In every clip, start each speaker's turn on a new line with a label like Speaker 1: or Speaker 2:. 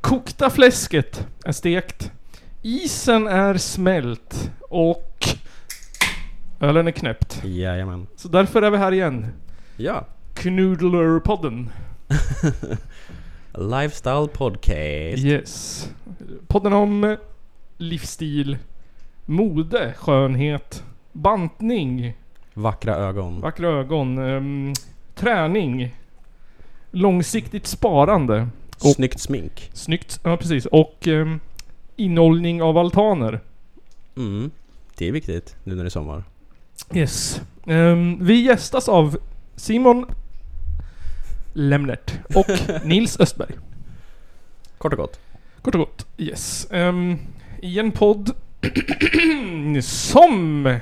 Speaker 1: kokta fläsket är stekt. Isen är smält och ölen är knäppt.
Speaker 2: Jajamän.
Speaker 1: Så därför är vi här igen.
Speaker 2: Ja.
Speaker 1: Knudler-podden.
Speaker 2: Lifestyle podcast.
Speaker 1: Yes. Podden om livsstil, mode, skönhet, bantning,
Speaker 2: Vackra ögon.
Speaker 1: vackra ögon, ehm, träning, långsiktigt sparande. Och-
Speaker 2: Snyggt smink.
Speaker 1: Snyggt, ja precis. Och ehm, inåldning av altaner.
Speaker 2: Mm. Det är viktigt nu när det är sommar.
Speaker 1: Yes. Ehm, vi gästas av Simon Lemnert och Nils Östberg.
Speaker 2: Kort och gott.
Speaker 1: Kort och gott. Yes. Ehm, I en podd som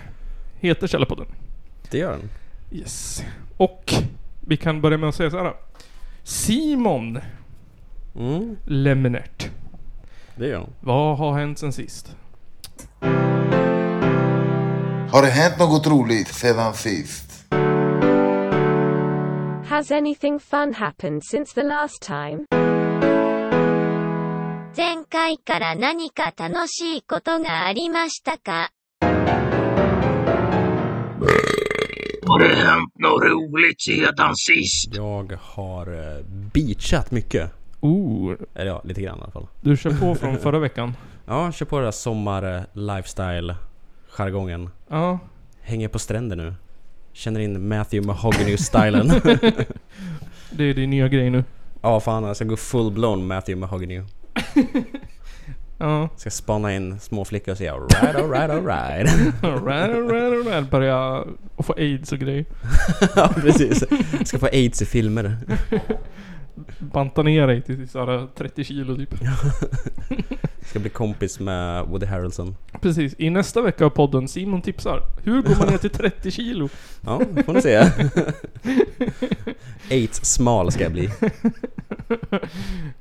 Speaker 1: heter Källarpodden.
Speaker 2: Det gör den.
Speaker 1: Yes. Och vi kan börja med att säga så här. Simon
Speaker 2: Mm.
Speaker 1: Lemnert.
Speaker 2: Det gör den.
Speaker 1: Vad har hänt sen sist?
Speaker 3: Har det hänt något roligt sedan sist?
Speaker 4: Has anything fun happened since the last time?
Speaker 5: 前回から何か楽しいことがありましたか
Speaker 6: Har det hänt något roligt sedan sist?
Speaker 2: Jag har eh, beachat mycket.
Speaker 1: Oh,
Speaker 2: Eller ja, lite grann i alla fall.
Speaker 1: du kör på från förra veckan.
Speaker 2: Ja, kör på den där eh, sommar-lifestyle-jargongen.
Speaker 1: Ja.
Speaker 2: Hänger på stränder nu. Känner in Matthew Mahogany-stylen.
Speaker 1: Det är din nya grej nu.
Speaker 2: ja, fan. Jag ska gå full-blown Matthew Mahogany.
Speaker 1: Ja.
Speaker 2: Ska spana in små flickor och säga alright, alright, alright.
Speaker 1: Alright, alright, alright. Börja och få aids och grejer.
Speaker 2: ja, precis. Ska få aids i filmer.
Speaker 1: Banta ner dig till såhär 30 kilo typ.
Speaker 2: Ska bli kompis med Woody Harrelson.
Speaker 1: Precis. I nästa vecka av podden Simon tipsar. Hur går man ner till 30 kilo?
Speaker 2: Ja, får ni se. Aids-smal ska jag bli.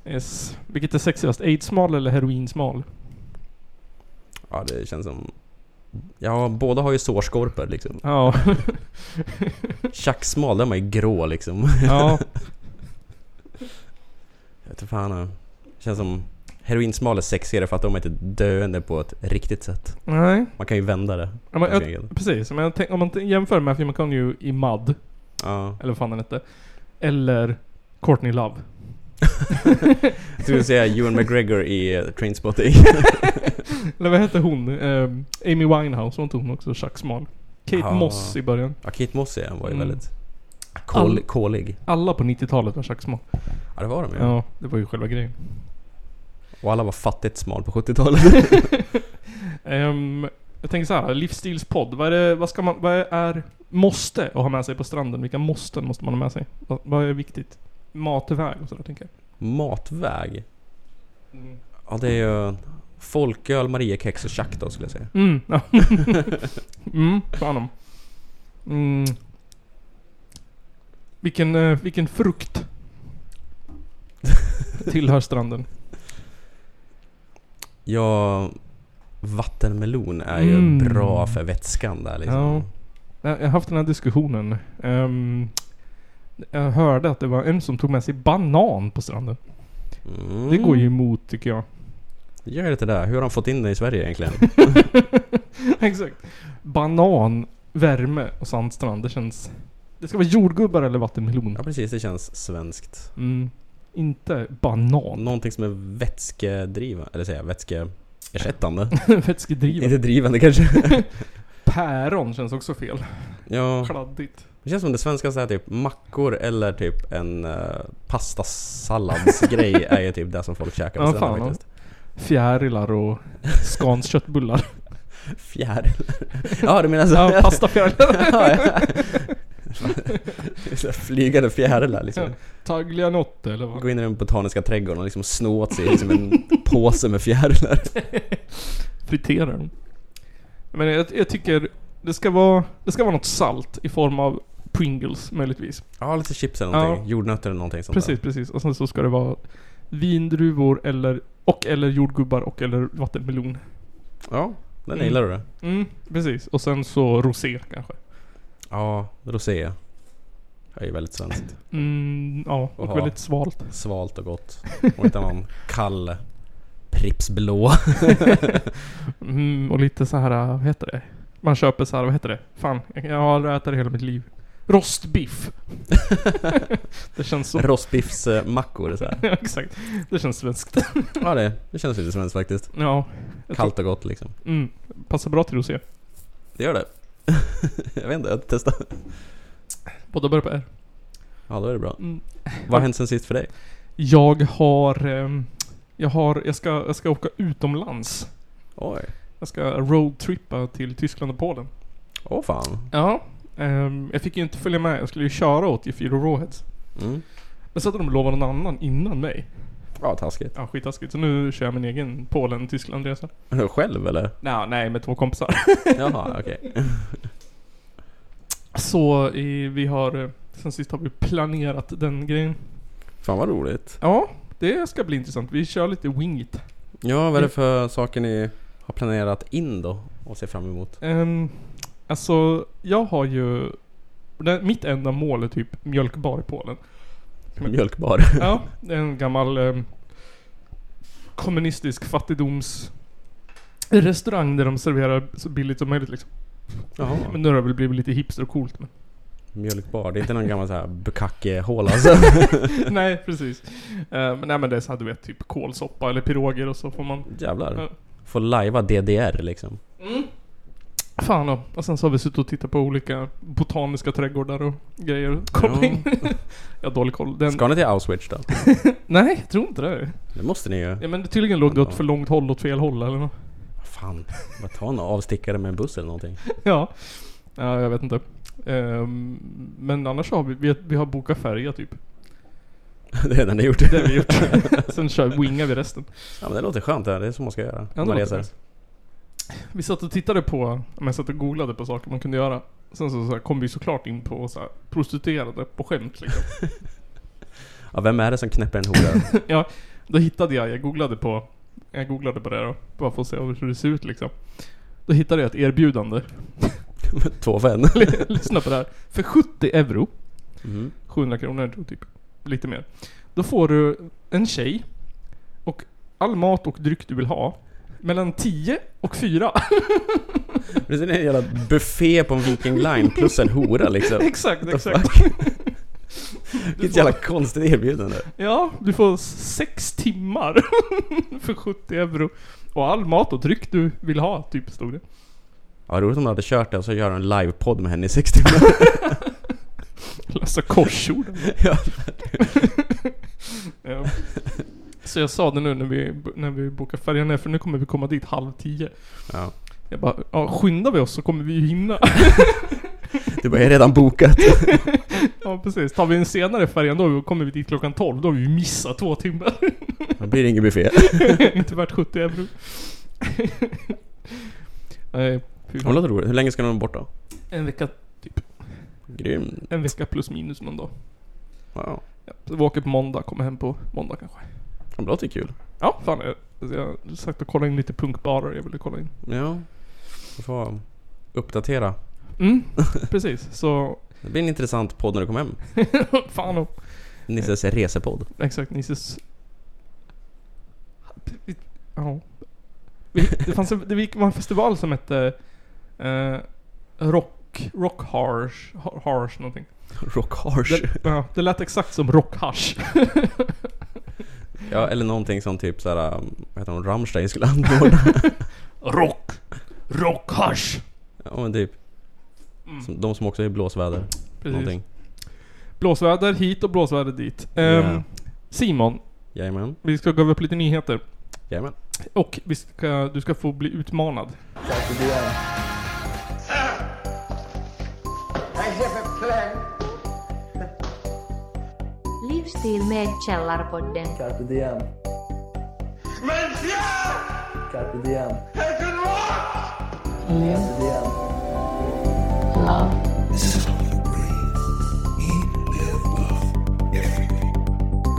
Speaker 1: Yes. Vilket är sexigast? Aids-smal eller heroinsmal?
Speaker 2: Ja, det känns som... Ja, båda har ju sårskorpor liksom.
Speaker 1: Ja.
Speaker 2: Tjacksmal, den var ju grå liksom.
Speaker 1: ja.
Speaker 2: Jag vet inte fan. eh, Känns som... Heroinsmal är sexigare för att de är inte döende på ett riktigt sätt.
Speaker 1: Nej.
Speaker 2: Man kan ju vända det.
Speaker 1: Ja, men
Speaker 2: ganska
Speaker 1: jag,
Speaker 2: enkelt.
Speaker 1: precis. Men jag tänk, om man t- jämför med Matthew McConaughey i Mud,
Speaker 2: Ja.
Speaker 1: eller vad fan den hette. Eller Courtney Love.
Speaker 2: Jag skulle säga Ewan McGregor i eh, Trainspotting.
Speaker 1: Eller vad hette hon? Ehm, Amy Winehouse, var inte hon också tjacksmal? Kate
Speaker 2: Ja.
Speaker 1: Moss i början.
Speaker 2: Ja, Kate Moss ja, var ju
Speaker 1: Mm.
Speaker 2: väldigt kol,
Speaker 1: All-
Speaker 2: kolig.
Speaker 1: Alla på 90-talet var tjacksmal.
Speaker 2: Ja, det var de ju.
Speaker 1: Ja, det var ju själva grejen.
Speaker 2: Och alla var fattigt smal på 70-talet.
Speaker 1: Ehm, jag tänker så här, livsstilspodd. Vad är, det, vad ska man, vad är måste att ha med sig på stranden? Vilka måsten måste man ha med sig? Vad, vad är viktigt? Matväg och sådär tänker jag.
Speaker 2: Matväg.
Speaker 1: Mm.
Speaker 2: Ja, det är ju folköl, Mariekex och tjack då skulle jag säga.
Speaker 1: Mm, ja. mm fan om. Mm. Vilken, eh, vilken frukt tillhör stranden?
Speaker 2: Ja, vattenmelon är ju
Speaker 1: Mm.
Speaker 2: bra för vätskan där liksom.
Speaker 1: Ja. Jag jag har haft den här diskussionen. Ehm, jag hörde att det var en som tog med sig banan på stranden.
Speaker 2: Mm.
Speaker 1: Det går ju emot tycker jag.
Speaker 2: Gör det där. Hur har de fått in det i Sverige egentligen?
Speaker 1: Exakt. Banan, värme och sandstrand. Det känns... Det ska vara jordgubbar eller vattenmelon.
Speaker 2: ja precis, det känns svenskt.
Speaker 1: Mm. Inte banan.
Speaker 2: Någonting som är vätskedriven, eller säga vätskeersättande.
Speaker 1: Vätskedriven.
Speaker 2: Inte drivande kanske.
Speaker 1: Päron känns också fel.
Speaker 2: ja.
Speaker 1: Kladdigt.
Speaker 2: Det känns som det svenska så här typ mackor eller typ en uh, pastasalladsgrej är ju typ det som folk käkar på
Speaker 1: Ja,
Speaker 2: stranden
Speaker 1: fan, ja.
Speaker 2: faktiskt.
Speaker 1: Fjärilar och Scans köttbullar.
Speaker 2: Fjärilar. Ja du menar så?
Speaker 1: Ja, pastafjärilar.
Speaker 2: Ja, ja. Så här Flygande fjärilar liksom.
Speaker 1: Taglianotte eller vad?
Speaker 2: Gå in i den botaniska trädgården och liksom snå åt sig liksom en påse med fjärilar.
Speaker 1: Friterar dem. Men jag, jag tycker det ska, vara, det ska vara något salt i form av Pringles möjligtvis.
Speaker 2: Ja, lite chips eller någonting. Jordnötter eller någonting sånt
Speaker 1: Precis, precis. Och sen så ska det vara vindruvor eller, och eller jordgubbar och eller vattenmelon.
Speaker 2: där. Ja, den
Speaker 1: Mm.
Speaker 2: gillar du det.
Speaker 1: Mm, precis. Och sen så rosé kanske.
Speaker 2: Ja, rosé. är ju väldigt svenskt.
Speaker 1: Mm, ja, och
Speaker 2: Oha.
Speaker 1: väldigt svalt.
Speaker 2: Svalt och gott. Och inte någon kall Pripps blå.
Speaker 1: Mm, och lite så här, vad heter det? Man köper så här, vad heter det? Fan, jag har ätit det hela mitt liv. Rostbiff. det känns så...
Speaker 2: Rostbiffsmackor eh, så här.
Speaker 1: Ja, exakt. Det känns svenskt.
Speaker 2: Ja det, det känns lite svenskt faktiskt.
Speaker 1: Ja.
Speaker 2: Kallt och gott liksom.
Speaker 1: Mm. Passar bra till rosé.
Speaker 2: Det gör det. jag vet inte, jag testar.
Speaker 1: Båda börjar på R.
Speaker 2: Ja då är det bra.
Speaker 1: Mm.
Speaker 2: Vad har hänt sen sist för dig?
Speaker 1: Jag har... ehm, Jag har... Jag ska, jag ska åka utomlands.
Speaker 2: Oj.
Speaker 1: Jag ska roadtrippa till Tyskland och Polen.
Speaker 2: Åh fan.
Speaker 1: Ja. ehm, jag fick ju inte följa med. Jag skulle ju köra åt G4 Rawheads.
Speaker 2: Mm.
Speaker 1: Men så hade de lovat någon annan innan mig.
Speaker 2: Bra taskigt.
Speaker 1: Ja, skittaskigt. Så nu kör jag min egen Polen-Tyskland-resa.
Speaker 2: Är du Själv eller?
Speaker 1: Nej, nej, med två kompisar.
Speaker 2: Jaha okej.
Speaker 1: Så eh, vi har... eh, Sen sist har vi planerat den grejen.
Speaker 2: Fan vad roligt.
Speaker 1: Ja, det ska bli intressant. Vi kör lite wingit.
Speaker 2: Ja vad är det för saker ni har planerat in då? Och ser fram emot?
Speaker 1: Um, alltså, jag har ju... Det, mitt enda mål är typ mjölkbar i Polen.
Speaker 2: Mjölkbar.
Speaker 1: Ja, det är en gammal ehm, kommunistisk fattigdomsrestaurang där de serverar så billigt som möjligt liksom.
Speaker 2: Jaha.
Speaker 1: Men nu har det väl blivit lite hipster och coolt. Men.
Speaker 2: Mjölkbar. Det är inte någon gammal så här bukackehåla alltså.
Speaker 1: nej, precis. Eh, men nej men det är så här, du vet, typ kålsoppa eller piroger och så får man... Ja.
Speaker 2: Jävlar. Får lajva DDR liksom.
Speaker 1: Fan då. Och sen så har vi suttit och tittat på olika botaniska trädgårdar och grejer. Kom
Speaker 2: Ja.
Speaker 1: in. jag har dålig koll. Den,
Speaker 2: Ska ni till Auschwitz då?
Speaker 1: Nej, jag tror inte det.
Speaker 2: Det måste ni ju.
Speaker 1: Ja men tydligen låg det åt för långt håll åt fel håll eller nåt.
Speaker 2: Fan, vad ta en avstickare med en buss eller någonting.
Speaker 1: Ja. Ja, jag vet inte. Ehm, men annars har vi, vi, vi har bokat färja typ.
Speaker 2: Det är redan det gjort.
Speaker 1: Det har vi gjort. Sen kör, wingar vi resten.
Speaker 2: Ja men det låter skönt det här. Det är så man ska göra.
Speaker 1: Ja, det
Speaker 2: när man
Speaker 1: låter
Speaker 2: reser.
Speaker 1: Vi satt och tittade på, men jag satt och googlade på saker man kunde göra. Sen så, så här, kom vi såklart in på så här, prostituerade på skämt liksom.
Speaker 2: Ja, vem är det som knäpper en hora?
Speaker 1: ja, då hittade jag, jag googlade på, jag googlade på det då. Bara för att se hur det ser ut liksom. Då hittade jag ett erbjudande.
Speaker 2: Två vän.
Speaker 1: Lyssna på det här. För 70 euro
Speaker 2: Mm.
Speaker 1: 700 kronor tror jag, typ. Lite mer. Då får du en tjej och all mat och dryck du vill ha. Mellan 10 och 4.
Speaker 2: Det är en jävla buffé på en Viking Line plus en hora liksom.
Speaker 1: exakt,
Speaker 2: What the
Speaker 1: exakt.
Speaker 2: fuck?
Speaker 1: Du
Speaker 2: Vilket
Speaker 1: får,
Speaker 2: jävla konstigt erbjudande.
Speaker 1: ja, du får 6 timmar för 70 euro. Och all mat och dryck du vill ha, typ stod det.
Speaker 2: Ja, roligt om du hade kört det och så gör du en livepodd med henne i 60 timmar.
Speaker 1: Lösa Alltså, korsord.
Speaker 2: Ja.
Speaker 1: Ja. Så jag sa det nu när vi, när vi bokar färjan ner, för nu kommer vi komma dit halv tio.
Speaker 2: Ja.
Speaker 1: Jag bara, ja, skyndar vi oss så kommer vi ju hinna.
Speaker 2: Du bara, jag är redan bokat.
Speaker 1: Ja precis. Tar vi en senare färjan då kommer vi dit klockan 12. Då har vi ju missat två timmar.
Speaker 2: Då blir det ingen buffé.
Speaker 1: Inte värt 70 euro. Nej, fy
Speaker 2: Ja, men
Speaker 1: fan.
Speaker 2: det låter roligt. Hur länge ska de bort då?
Speaker 1: en vecka,
Speaker 2: Grym.
Speaker 1: en vecka plus minus någon dag.
Speaker 2: Wow.
Speaker 1: Ja, så vi åker på måndag, kommer hem på måndag kanske.
Speaker 2: Ja, men det låter kul.
Speaker 1: Ja, fan. Jag, alltså, jag har sagt att kolla in lite punkbarer jag ville kolla in.
Speaker 2: Ja. Du får uppdatera.
Speaker 1: Mm, precis. Så,
Speaker 2: Det blir en intressant podd när du kommer hem.
Speaker 1: fan och,
Speaker 2: Nisses resepodd.
Speaker 1: Exakt, Nisses... Ja. Vi- Det fanns en, det gick- var en festival som hette... Eh, rock... Rock Harsh... Har- Harsh någonting.
Speaker 2: Rock harsh.
Speaker 1: Det, ja, det lät exakt som Rock Harsh.
Speaker 2: Ja, eller någonting som typ såhär, um, vad heter hon, Rammstein skulle anordna.
Speaker 1: Rock! Rock Harsh!
Speaker 2: ja men typ. Som, de som också är i blåsväder.
Speaker 1: Mm. Precis.
Speaker 2: Någonting.
Speaker 1: Blåsväder hit och blåsväder dit. Ehm,
Speaker 2: Ja.
Speaker 1: Simon,
Speaker 2: Jajamän.
Speaker 1: vi ska gå upp lite nyheter.
Speaker 2: Jajamän.
Speaker 1: Och vi ska, du ska få bli utmanad.
Speaker 7: Livsstil med Källarpodden.
Speaker 8: Carpe diem. Carpe diem. Carpe diem.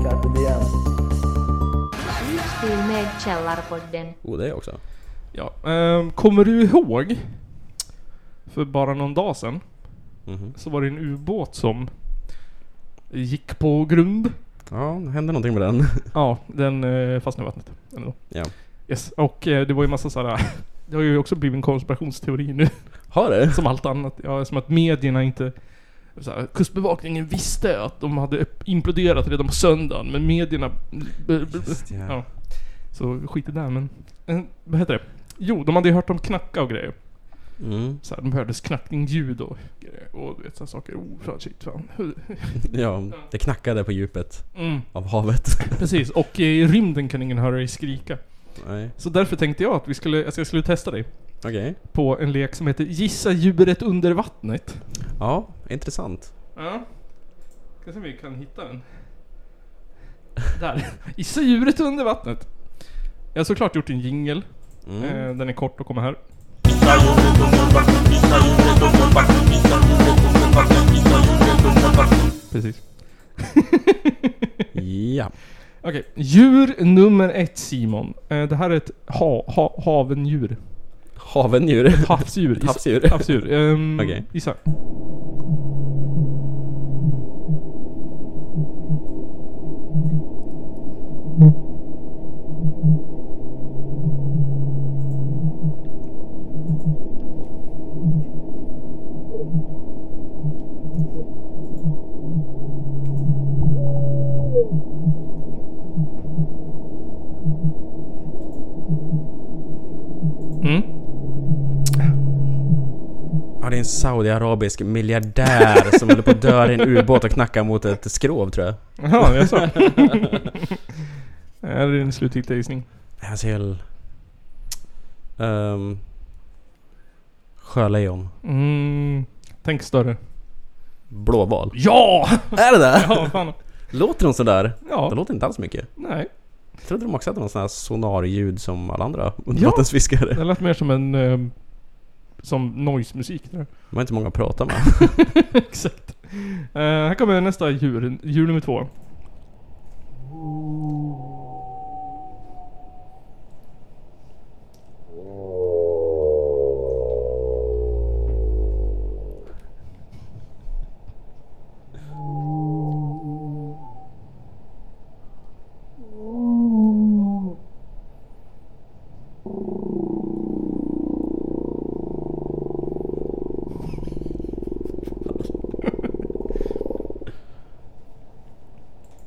Speaker 8: Carpe diem.
Speaker 7: Livsstil med Källarpodden.
Speaker 2: Oh, det också.
Speaker 1: Ja, ehm, kommer du ihåg? För bara någon dag sedan
Speaker 2: Mhm.
Speaker 1: så var det en ubåt som gick på grund.
Speaker 2: Ja, det hände någonting med den.
Speaker 1: Ja, den eh, fastnade i vattnet. Ändå.
Speaker 2: Ja.
Speaker 1: Yes. Och eh, det var ju massa sådär... Det har ju också blivit en konspirationsteori nu,
Speaker 2: Har det?
Speaker 1: som allt annat. Ja, som att medierna inte... Så här, kustbevakningen visste att de hade imploderat redan på söndagen, men medierna...
Speaker 2: Just, ja.
Speaker 1: Ja. Så skit i det, men... eh, Vad heter det? Jo, de hade ju hört om knacka och grejer.
Speaker 2: Mm.
Speaker 1: Så här, de hördes knackningsljud och grejer. Och du vet sådana saker. Oh, fan, shit, fan.
Speaker 2: ja, det knackade på djupet
Speaker 1: Mm,
Speaker 2: av havet.
Speaker 1: precis. Och eh, i rymden kan ingen höra dig skrika.
Speaker 2: Nej,
Speaker 1: Så därför tänkte jag att vi skulle, att jag skulle testa dig
Speaker 2: okej.
Speaker 1: på en lek som heter Gissa djuret under vattnet.
Speaker 2: Ja, intressant.
Speaker 1: Ja. Ska se om vi kan hitta den. Där. Gissa djuret under vattnet. Jag har såklart gjort en jingel. Eh, den är kort och kommer här. Precis.
Speaker 2: Ja.
Speaker 1: Okej, djur nummer ett Simon. Eh, det här är ett ha, ha, havendjur.
Speaker 2: Havendjur.
Speaker 1: Havsdjur. gissa-
Speaker 2: Havsdjur.
Speaker 1: Havsdjur. Um,
Speaker 2: Okej.
Speaker 1: Gissa. Mm.
Speaker 2: Ja, det är en saudiarabisk miljardär som håller på att dö i en ubåt och knackar mot ett skrov tror jag.
Speaker 1: Jaha, jag sa. Det här är din slutgiltiga gissning.
Speaker 2: Hans hel... Um, sjölejon.
Speaker 1: Mm, tänk större.
Speaker 2: Blåval.
Speaker 1: Ja!
Speaker 2: Är det det?
Speaker 1: Ja, fan.
Speaker 2: Låter de sådär? Det
Speaker 1: Ja,
Speaker 2: låter inte alls mycket.
Speaker 1: nej.
Speaker 2: Jag trodde de också hade någon sån här sonarljud som alla andra undervattensfiskare.
Speaker 1: Det lät mer som en... ehm, som noise-musik där.
Speaker 2: De har inte många att prata med.
Speaker 1: Exakt. Eh, här kommer nästa djur. Djur nummer två.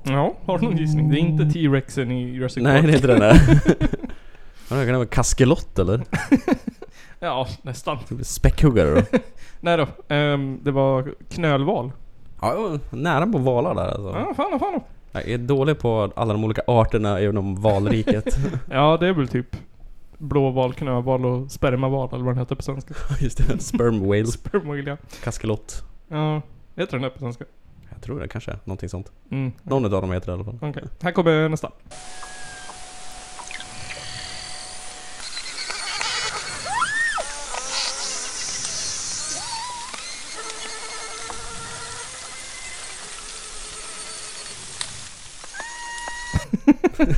Speaker 1: Ja, har du någon gissning? Det är inte T-rexen i Jurassic
Speaker 2: Nej,
Speaker 1: Park.
Speaker 2: det är inte den där. Vad kan det vara? Kaskelott eller?
Speaker 1: Ja, nästan.
Speaker 2: Typ Späckhuggare då?
Speaker 1: Nej då. ehm, det var knölval.
Speaker 2: Ja, jag var nära på valar där alltså.
Speaker 1: Ja, fan ja, fan ja.
Speaker 2: Jag är dålig på alla de olika arterna inom valriket.
Speaker 1: Ja, det är väl typ blåval, knölval och spermaval eller vad den heter på svenska.
Speaker 2: Just det, sperm whales.
Speaker 1: Spermoil, ja.
Speaker 2: Kaskelott.
Speaker 1: Ja, heter den det på svenska?
Speaker 2: Jag tror det kanske, någonting sånt.
Speaker 1: Mm,
Speaker 2: Någon av dem heter det i alla fall.
Speaker 1: okej. Här kommer nästa.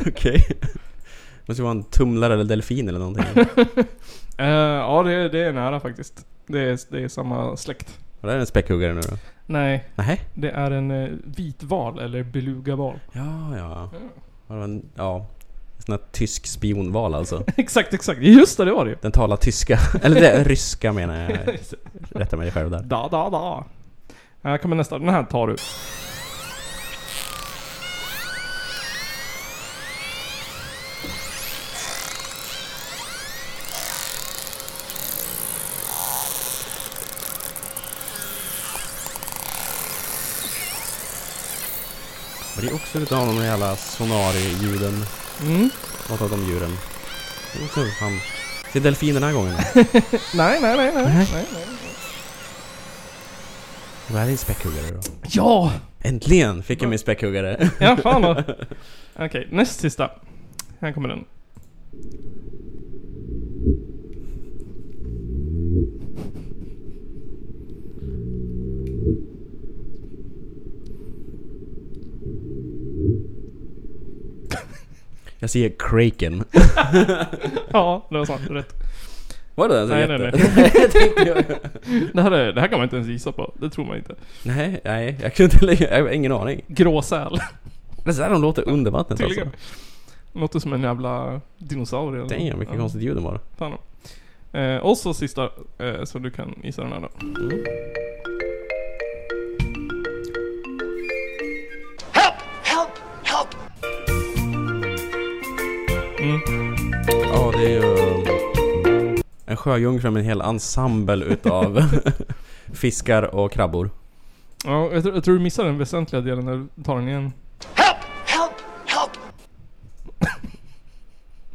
Speaker 2: Okej. Måste ju vara en tumlare eller delfin eller någonting.
Speaker 1: Eh, ja, det, det är nära faktiskt. Det är, det är samma släkt.
Speaker 2: Var det är en späckhuggare nu då?
Speaker 1: Nej,
Speaker 2: Nej.
Speaker 1: det är en eh, vitval eller belugaval.
Speaker 2: Ja, ja.
Speaker 1: Mm.
Speaker 2: Var det en, ja. En sån här tysk spionval alltså.
Speaker 1: exakt, exakt. Just det, det var det ju.
Speaker 2: Den talar tyska. eller det, ryska menar jag. Rätta mig själv där.
Speaker 1: Da, da, da. Här kommer nästa. Den här tar du.
Speaker 2: Men det är också utav de jävla sonari-ljuden.
Speaker 1: Mm.
Speaker 2: Något av de djuren. Det är också han. Det är delfin den här gången.
Speaker 1: Nej, nej, nej, nej. nej, nej.
Speaker 2: Det här är en späckhuggare då.
Speaker 1: Ja!
Speaker 2: Äntligen fick jag min späckhuggare.
Speaker 1: Ja, fan då. Okej, näst sista. Här kommer den.
Speaker 2: Jag säger kraken.
Speaker 1: Ja, det var sant. Rätt.
Speaker 2: Var det den?
Speaker 1: Nej, nej, nej.
Speaker 2: nej. tänkte jag.
Speaker 1: Det här, är, det här kan man inte ens gissa på. Det tror man inte.
Speaker 2: nej, nej. Jag kunde inte lägga... Jag har ingen aning.
Speaker 1: Gråsäl.
Speaker 2: Det är så här de låter under vattnet alltså.
Speaker 1: Tydligen. Låter som en jävla dinosaurie. eller
Speaker 2: Damn,
Speaker 1: något.
Speaker 2: vilket
Speaker 1: Ja,
Speaker 2: konstigt ljud de har.
Speaker 1: fan. Eh, och så sista, eh, så du kan gissa den här då.
Speaker 2: Ja, det är ju... um, En sjöjungfru med en hel ensemble utav fiskar och krabbor.
Speaker 1: Ja, jag, tror- jag tror du missar den väsentliga delen när du tar den igen.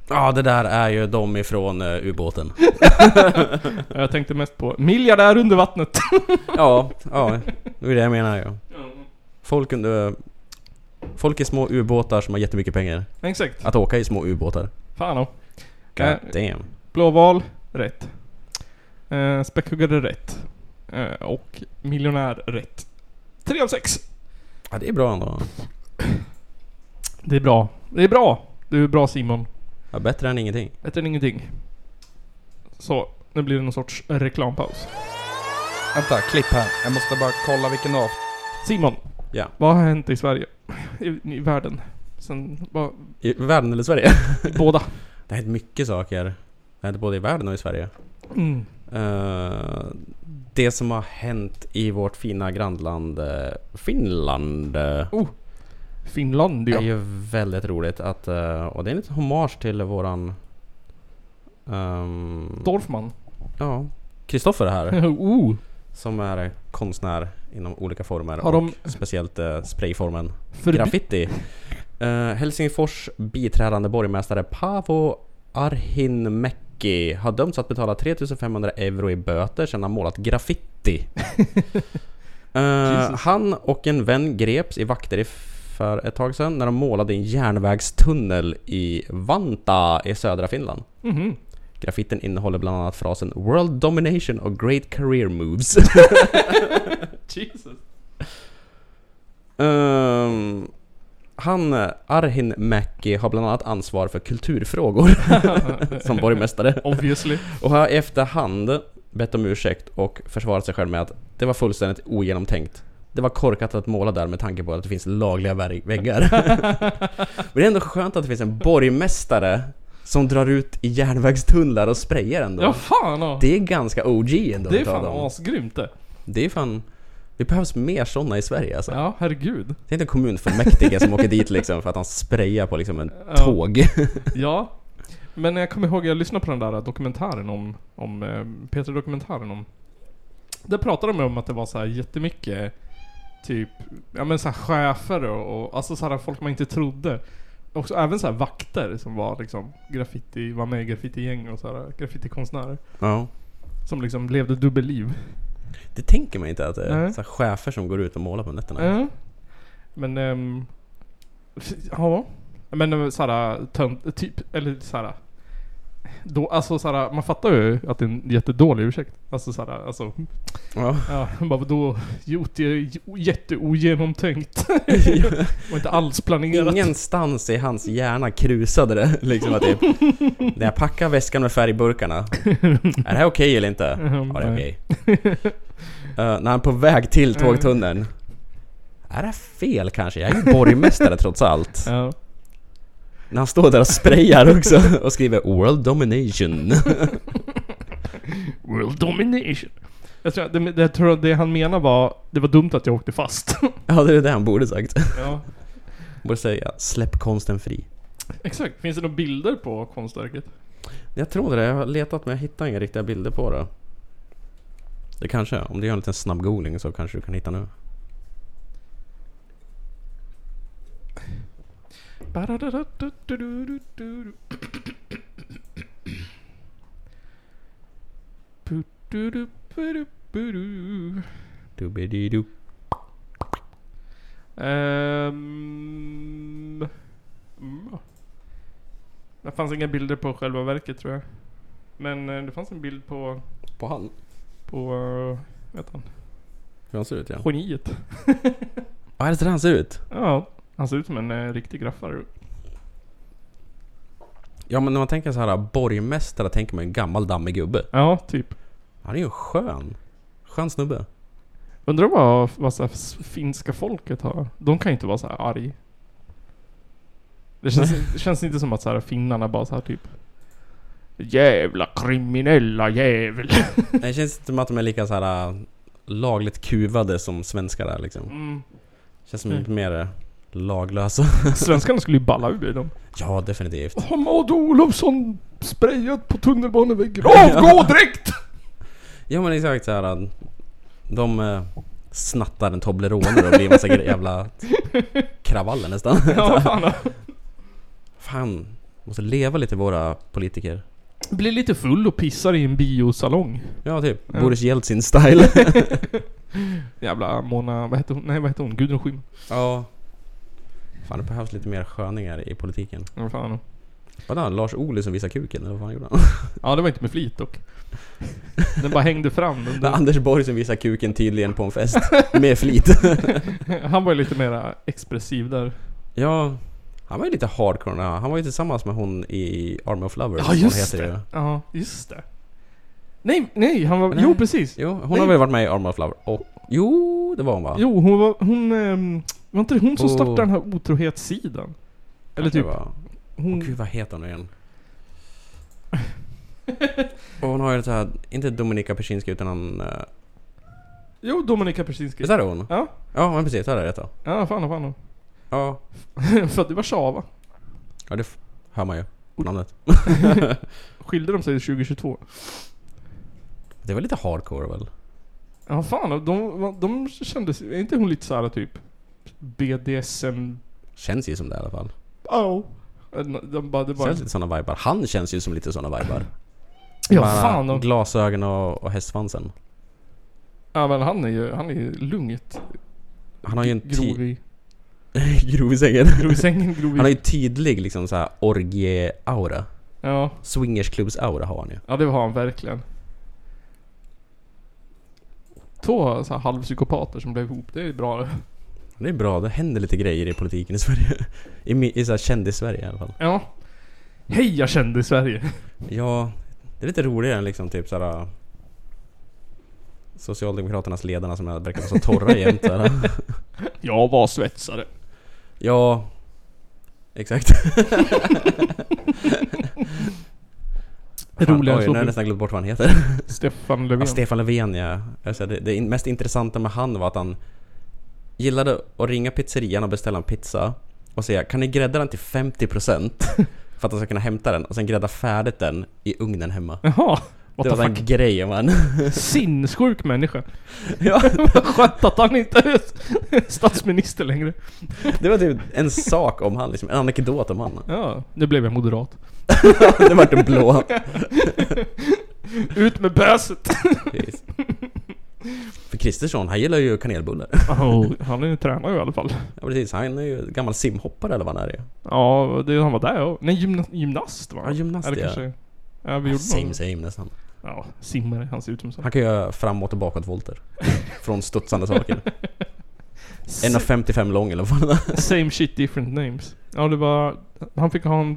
Speaker 2: Ja, det där är ju de ifrån eh, ubåten.
Speaker 1: Eh, Jag tänkte mest på miljardär under vattnet.
Speaker 2: Ja, ja. Det är det jag menar ju. Folk under... Folk i små ubåtar som har jättemycket pengar.
Speaker 1: Exakt.
Speaker 2: Att åka i små ubåtar.
Speaker 1: Fan oh.
Speaker 2: God
Speaker 1: Eh,
Speaker 2: damn.
Speaker 1: Blåval, rätt. Eh, späckhuggare, rätt. Eh, och miljonär, rätt. Tre av sex.
Speaker 2: Ja, det är bra ändå.
Speaker 1: Det är bra. Det är bra. Du är bra Simon.
Speaker 2: Ja, bättre än ingenting.
Speaker 1: Bättre än ingenting. Så, nu blir det någon sorts reklampaus.
Speaker 9: Vänta, klipp här. Jag måste bara kolla vilken av.
Speaker 1: Simon.
Speaker 2: Ja.
Speaker 1: Vad har hänt i Sverige? I, i världen? Sen, vad,
Speaker 2: I världen eller Sverige?
Speaker 1: i båda.
Speaker 2: Det har hänt mycket saker. Det har hänt både i världen och i Sverige.
Speaker 1: Mm.
Speaker 2: Eh, det som har hänt i vårt fina grannland eh, Finland eh,
Speaker 1: Finland
Speaker 2: är
Speaker 1: ja.
Speaker 2: ju väldigt roligt att... eh, och det är en liten hommage till våran... ehm,
Speaker 1: Dorfman.
Speaker 2: ja, Kristoffer här.
Speaker 1: oh.
Speaker 2: Som är konstnär inom olika former
Speaker 1: Har de-
Speaker 2: och speciellt eh, sprayformen
Speaker 1: Förbi,
Speaker 2: graffiti. Eh, Helsingfors biträdande borgmästare Paavo Arhinmäki har dömts att betala 3500 euro i böter sedan han målat graffiti. Eh,
Speaker 1: Jesus.
Speaker 2: han och en vän greps i vakter i för ett tag sedan när de målade en järnvägstunnel i Vanta i södra Finland.
Speaker 1: Mhm.
Speaker 2: Graffiten innehåller bland annat frasen “World domination” och “Great career moves”.
Speaker 1: Jesus.
Speaker 2: Ehm, han, Arhin Mäki, har bland annat ansvar för kulturfrågor som borgmästare.
Speaker 1: Obviously.
Speaker 2: Och har i efterhand bett om ursäkt och försvarat sig själv med att det var fullständigt ogenomtänkt. Det var korkat att måla där med tanke på att det finns lagliga vär- väggar. Men det är ändå skönt att det finns en borgmästare som drar ut i järnvägstunnlar och sprayar ändå.
Speaker 1: Ja fan ja.
Speaker 2: Det är ganska OG ändå
Speaker 1: Det är
Speaker 2: utav
Speaker 1: fan
Speaker 2: dem.
Speaker 1: asgrymt det.
Speaker 2: Det är fan... Det behövs mer sådana i Sverige alltså.
Speaker 1: Ja, herregud.
Speaker 2: Det är inte en kommunfullmäktige som åker dit liksom för att han sprayar på liksom en
Speaker 1: Ja.
Speaker 2: tåg.
Speaker 1: Ja. Men jag kommer ihåg, jag lyssnade på den där dokumentären om, om eh, Peter dokumentären om... Där pratade de om att det var så här jättemycket typ, ja men så här chefer och, och alltså så här folk man inte trodde. Och så, även så här vakter som var liksom graffiti, var med i graffitigäng och så här graffitikonstnärer.
Speaker 2: Ja.
Speaker 1: Som liksom levde dubbelliv.
Speaker 2: Det tänker man inte att det är
Speaker 1: Nej.
Speaker 2: så här chefer som går ut och målar på nätterna.
Speaker 1: Ja. Men ehm, f- ja. Men eh, såhär tönt, typ, eller såhär. Då, alltså såhär, man fattar ju att det är en jättedålig ursäkt. Alltså såhär, alltså.
Speaker 2: Ja.
Speaker 1: Ja, bara vadå? Jo, det är j- jätteogenomtänkt. Och inte alls planerat.
Speaker 2: Ingenstans i hans hjärna krusade det liksom att typ, När jag packar väskan med färgburkarna. Är det här okej eller inte? Ja, det är okej. Eh, när han är på väg till tågtunneln. Är det här fel kanske? Jag är ju borgmästare trots allt.
Speaker 1: Ja.
Speaker 2: När han står där och sprayar också och skriver “World Domination”.
Speaker 1: World domination. Jag tror, det, det, jag tror det han menar var, det var dumt att jag åkte fast.
Speaker 2: ja, det är det han borde sagt.
Speaker 1: ja.
Speaker 2: Borde säga “Släpp konsten fri”.
Speaker 1: Exakt. Finns det några bilder på konstverket?
Speaker 2: Jag tror det. Jag har letat men jag hittar inga riktiga bilder på det. Det kanske, om du gör en liten snabb googling så kanske du kan hitta nu.
Speaker 1: Ehm, mm.
Speaker 2: Dubididu.
Speaker 1: Ehm... Mm. Det fanns inga bilder på själva verket tror jag. Men eh, det fanns en bild på...
Speaker 2: På han?
Speaker 1: På... eh, Vet han?
Speaker 2: Hur han ser ut ja.
Speaker 1: Geniet.
Speaker 2: Ja, är det så där han ser ut?
Speaker 1: Ja. Han ser ut som en eh, riktig graffare.
Speaker 2: Ja men när man tänker så här borgmästare tänker man ju en gammal dammig gubbe.
Speaker 1: Ja, typ.
Speaker 2: Han är ju skön. Skön snubbe.
Speaker 1: Undrar vad, vad så här, s- finska folket har. De kan ju inte vara så här arg. Det känns, det känns inte som att så här, finnarna bara så här typ... Jävla kriminella jävel.
Speaker 2: Det känns inte som att de är lika så här äh, lagligt kuvade som svenskar är liksom.
Speaker 1: Mm.
Speaker 2: Känns som
Speaker 1: Mm.
Speaker 2: lite mer äh, laglösa.
Speaker 1: Svenskarna skulle ju balla ur dem.
Speaker 2: Ja, definitivt.
Speaker 1: Har Maud Olofsson sprayat på tunnelbaneväggen? Avgå direkt!
Speaker 2: Ja men exakt så här. äh, De äh, snattar en Toblerone och blir en massa gre- jävla kravaller nästan.
Speaker 1: ja, vad fan.
Speaker 2: Fan, måste leva lite våra politiker.
Speaker 1: Blir lite full och pissar i en biosalong.
Speaker 2: Ja typ,
Speaker 1: Ja.
Speaker 2: Boris Jeltsin-style.
Speaker 1: Jävla Mona... Vad heter hon? Nej, vad heter hon? Gudrun Schyman.
Speaker 2: ja. Fan det behövs lite mer sköningar i politiken.
Speaker 1: Ja, vad fan.
Speaker 2: Vadå, Lars Ohly som visar kuken? Eller vad fan gjorde han?
Speaker 1: Ja, det var inte med flit dock. Den bara hängde fram.
Speaker 2: Det är
Speaker 1: Under...
Speaker 2: Anders Borg som visar kuken tydligen på en fest. Med flit.
Speaker 1: Han var ju lite mer expressiv där.
Speaker 2: ja. Han var ju lite hardcore när han- Han var ju tillsammans med hon i Army of Lovers. Hon heter ju.
Speaker 1: Ja, just det. Nej, nej, han var...
Speaker 2: Nej.
Speaker 1: Jo, precis.
Speaker 2: Jo, hon
Speaker 1: Nej.
Speaker 2: har väl varit med i Army of Lovers? Och, jo, det var hon va?
Speaker 1: Jo, hon var... Hon... ehm, var inte det hon som
Speaker 2: Oh.
Speaker 1: startade den här otrohetssidan? Eller
Speaker 2: Kanske
Speaker 1: typ...
Speaker 2: det var. Åh
Speaker 1: Hon...
Speaker 2: gud, vad heter hon nu igen? Och hon har ju så här, inte Dominika Persinski utan hon... eh,
Speaker 1: Jo, Dominika Persinski.
Speaker 2: Visst är det hon?
Speaker 1: Ja.
Speaker 2: Ja, men precis. Det är det rätt då.
Speaker 1: Ja, fan, fan.
Speaker 2: Ja.
Speaker 1: Född i Warszawa.
Speaker 2: Ja, det f- hör man ju. på Namnet.
Speaker 1: Skilde de sig 2022?
Speaker 2: Det var lite hardcore väl?
Speaker 1: Ja, fan. De, de kändes... Är inte hon lite såhär typ... BDSM...
Speaker 2: Känns ju som det i alla fall.
Speaker 1: Oh. De bara, det bara,
Speaker 2: Känns lite såna vibar. Han känns ju som lite såna vibar.
Speaker 1: ja,
Speaker 2: Bara
Speaker 1: fan. De,
Speaker 2: Glasögon och, och hästsvansen.
Speaker 1: ja, men han är ju, han är ju lugnt
Speaker 2: Han har ju en
Speaker 1: grov
Speaker 2: ti-
Speaker 1: i,
Speaker 2: grov i sängen.
Speaker 1: grov i sängen, grov i...
Speaker 2: Han har ju tydlig liksom så här orgie-aura.
Speaker 1: ja.
Speaker 2: Swingersklubbs-aura har han ju.
Speaker 1: ja, det har han verkligen. Två så här halvpsykopater som blev ihop, det är ju bra.
Speaker 2: Det är bra, det händer lite grejer i politiken i Sverige. I, mi- i så här kändis-Sverige i alla fall.
Speaker 1: Ja. Hej, jag kände i Sverige.
Speaker 2: Ja, det är lite roligare än liksom typ såhär... Socialdemokraternas ledarna som verkar vara så torra jämt såhär.
Speaker 1: Jag var svetsare.
Speaker 2: Ja, exakt. Fan,
Speaker 1: Roligare
Speaker 2: Oj,
Speaker 1: än
Speaker 2: nu har
Speaker 1: så.
Speaker 2: jag nästan glömt bort vad han heter.
Speaker 1: Stefan Löfven.
Speaker 2: Ja, Stefan Löfven ja. Alltså, det, det in- mest intressanta med han var att han gillade att ringa pizzerian och beställa en pizza och säga kan ni grädda den till 50% för att han ska kunna hämta den och sen grädda färdigt den i ugnen hemma.
Speaker 1: Jaha.
Speaker 2: Det
Speaker 1: What
Speaker 2: var
Speaker 1: the
Speaker 2: den
Speaker 1: fuck?
Speaker 2: grejen man.
Speaker 1: Sinnessjuk människa.
Speaker 2: ja,
Speaker 1: Skönt att han inte är statsminister längre.
Speaker 2: det var typ en sak om han, liksom, en anekdot om han.
Speaker 1: Ja, nu blev jag moderat.
Speaker 2: det vart en blå.
Speaker 1: Ut med böset!
Speaker 2: Precis. För Kristersson, han gillar ju kanelbullar.
Speaker 1: han är ju tränare i alla fall.
Speaker 2: Ja precis, han är ju gammal simhoppare eller vad han är ju.
Speaker 1: Ja, det, han var där och... Nej, gymna, gymnast va?
Speaker 2: Ja, gymnast,
Speaker 1: Eller
Speaker 2: ja.
Speaker 1: kanske... Ja, vi gjorde
Speaker 2: Same
Speaker 1: någon-
Speaker 2: same nästan.
Speaker 1: Ja, simmare. Han ser ut som så.
Speaker 2: Han kan göra framåt och bakåtvolter. Från studsande saker. 1,55 lång eller vad fan det är.
Speaker 1: Same shit, different names. Ja, det var... Han fick ha en...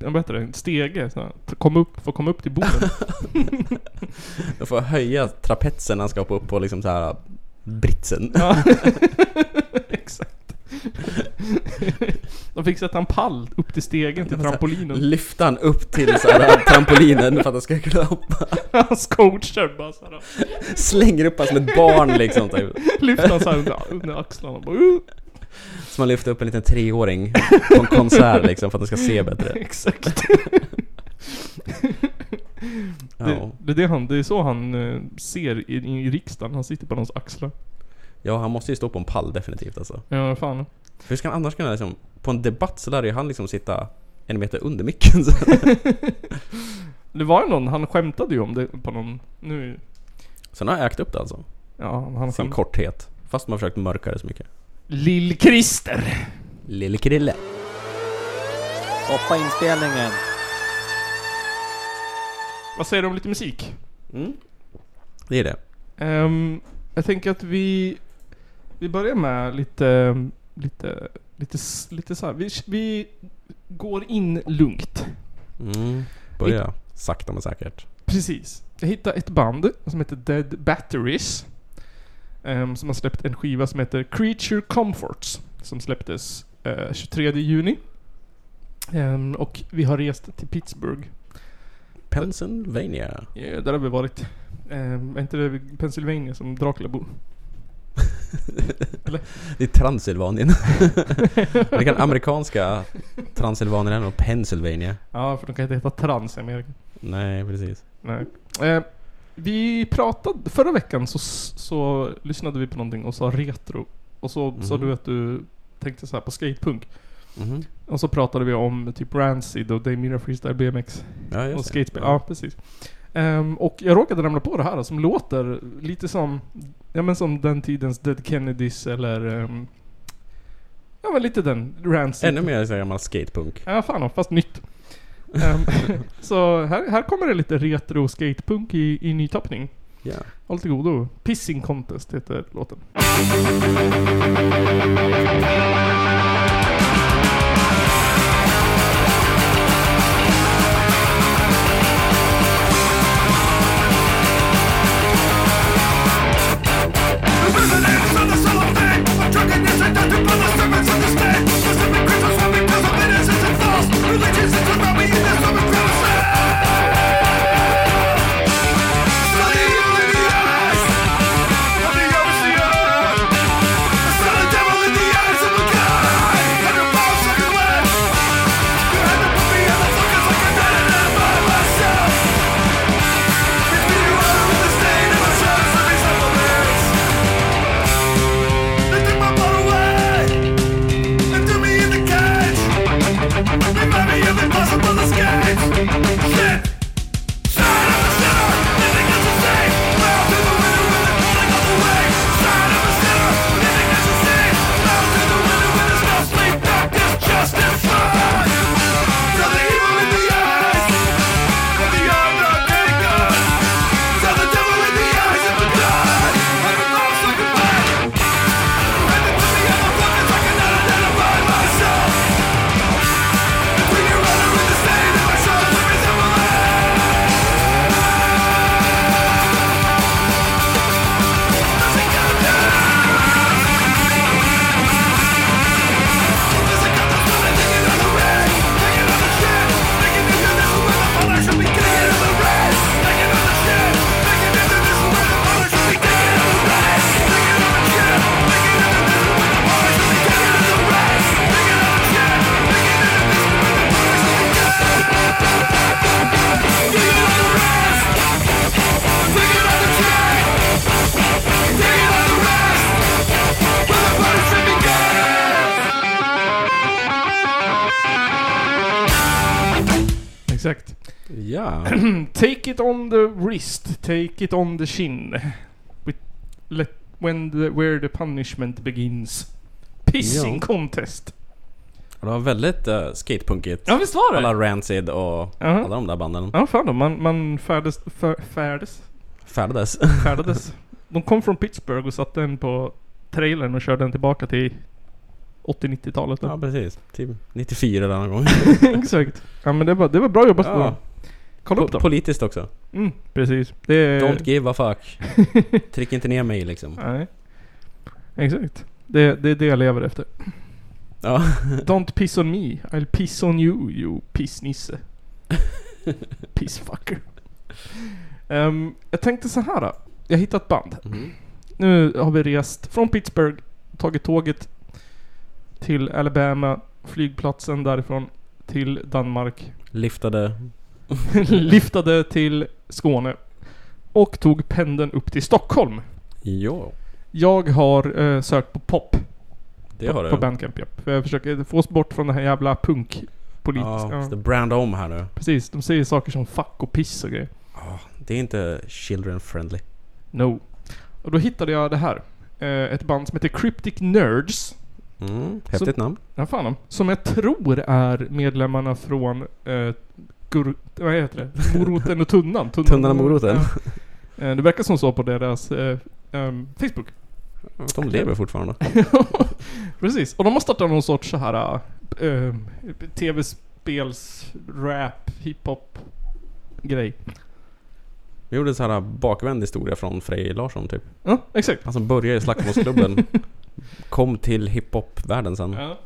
Speaker 1: en vad heter det? En stege. Så här, kom upp, få komma upp till borden.
Speaker 2: Jag får höja trapetsen när han ska hoppa upp på liksom så här britsen.
Speaker 1: ja. Exakt. De fick sätta en pall upp till stegen till trampolinen.
Speaker 2: Lyfta han upp till så här trampolinen för att han ska kunna hoppa.
Speaker 1: Hans coacher bara såhär...
Speaker 2: Slänger upp han som ett barn liksom. Typ.
Speaker 1: Lyfte han såhär under, under axlarna. Bara, "Uh."
Speaker 2: Som man lyfter upp en liten treåring på en konsert liksom för att den ska se bättre.
Speaker 1: Exakt.
Speaker 2: Ja,
Speaker 1: Det, det, är det, han, det är så han eh, ser i, i riksdagen. Han sitter på någons axlar.
Speaker 2: ja han måste ju stå på en pall definitivt alltså.
Speaker 1: Ja, fan.
Speaker 2: Hur ska han annars kunna liksom, på en debatt så lär ju han liksom sitta en meter under micken. Så.
Speaker 1: Det var ju någon, han skämtade ju om det på någon... Nu...
Speaker 2: Sen har jag ägt upp det alltså.
Speaker 1: Ja, han
Speaker 2: Sin
Speaker 1: skämtade.
Speaker 2: korthet. Fast man har försökt mörka det så mycket.
Speaker 1: Lill-Christer!
Speaker 2: Lille Krille.
Speaker 8: Stoppa inspelningen.
Speaker 1: Vad säger du om lite musik? Mm.
Speaker 2: Det är det.
Speaker 1: Ehm, jag tänker att vi... Vi börjar med lite... Lite... Lite, s- lite så här. Vi, vi går in lugnt.
Speaker 2: Mm. Börja sakta men säkert.
Speaker 1: Precis. Jag hittade ett band som heter Dead Batteries. ehm, som har släppt en skiva som heter Creature Comforts. Som släpptes eh, 23 juni. Ehm, och vi har rest till Pittsburgh.
Speaker 2: Pennsylvania.
Speaker 1: Ja, där har vi varit. Ehm, är inte det Pennsylvania som Dracula bor?
Speaker 2: Det är Transylvanien. det kan amerikanska Transylvanien eller Pennsylvania.
Speaker 1: Ja, för de kan inte heta trans i Amerika.
Speaker 2: Nej, precis.
Speaker 1: Nej. Eh, vi pratade... Förra veckan så, så lyssnade vi på någonting och sa retro. Och så sa
Speaker 2: Mhm.
Speaker 1: du att du tänkte så här på skatepunk.
Speaker 2: Mhm.
Speaker 1: Och så pratade vi om typ Rancid och Daymira Freestyle BMX
Speaker 2: Ja,
Speaker 1: och
Speaker 2: just det.
Speaker 1: skatespel. Ja, precis. Ehm, och jag råkade ramla på det här som låter lite som, ja men som den tidens Dead Kennedys eller... ehm, ja men lite den, Rancid.
Speaker 2: Ännu mer så här gammal skatepunk.
Speaker 1: Ja, fan fast nytt. Ehm, så här, här kommer det lite retro skatepunk i, i ny tappning.
Speaker 2: Ja.
Speaker 1: Håll till godo. Pissing Contest heter låten. Exakt.
Speaker 2: Ja.
Speaker 1: Take it on the wrist, take it on the chin. With, let, when the, where the punishment begins. Pissing
Speaker 2: Ja.
Speaker 1: Contest.
Speaker 2: Det var väldigt uh, skatepunkigt.
Speaker 1: Ja visst var det?
Speaker 2: Alla Rancid och
Speaker 1: Jaha.
Speaker 2: alla de där banden
Speaker 1: Ja fan då, man, man färdes, fär, färdes,
Speaker 2: färdades.
Speaker 1: färdades. De kom från Pittsburgh och satte den på trailern och körde den tillbaka till 80-90-talet.
Speaker 2: ja, precis. Typ 94 eller någon gång.
Speaker 1: Exakt. Ja men det var, det var bra jobbat på dem.
Speaker 2: Ja.
Speaker 1: Kolla upp
Speaker 2: Po-
Speaker 1: dem.
Speaker 2: politiskt också.
Speaker 1: Mm, precis. Det är...
Speaker 2: Don't give a fuck. Tryck inte ner mig liksom.
Speaker 1: Nej. Exakt. Det, det är det jag lever efter.
Speaker 2: Ja.
Speaker 1: Don't piss on me. I'll piss on you, you pissnisse. Pissfucker. Ehm, jag tänkte så här. då. Jag hittade ett band.
Speaker 2: Mhm.
Speaker 1: Nu har vi rest från Pittsburgh, tagit tåget till Alabama, flygplatsen därifrån till Danmark,
Speaker 2: Liftade.
Speaker 1: lyftade till Skåne och tog pendeln upp till Stockholm.
Speaker 2: Jo.
Speaker 1: Jag har eh, sökt på pop
Speaker 2: Det
Speaker 1: på,
Speaker 2: har du.
Speaker 1: på Bandcamp, ja. För jag försöker få oss bort från den här jävla punkpolitiska...
Speaker 2: Ja,
Speaker 1: Ja.
Speaker 2: så det brand om här nu.
Speaker 1: Precis, de säger saker som fuck och piss och grejer.
Speaker 2: Det är inte children friendly.
Speaker 1: No. Och då hittade jag det här. Eh, ett band som heter Cryptic Nerds.
Speaker 2: Mm. Häftigt namn.
Speaker 1: Ja, fan om. Som jag tror är medlemmarna från... Eh, gur, vad heter det? Moroten och Tunnan. Tunnan,
Speaker 2: Tunnan och moroten.
Speaker 1: Ja. Eh, det verkar som så på deras eh, ehm, Facebook.
Speaker 2: De lever fortfarande.
Speaker 1: Precis. Och de har startat någon sorts så här eh, tv spels, rap, hiphop grej.
Speaker 2: Vi gjorde en sån här bakvänd historia från Frej Larsson typ.
Speaker 1: Ja, exakt.
Speaker 2: Han som började i slagsmålsklubben. kom till hiphop-världen sen.
Speaker 1: Ja.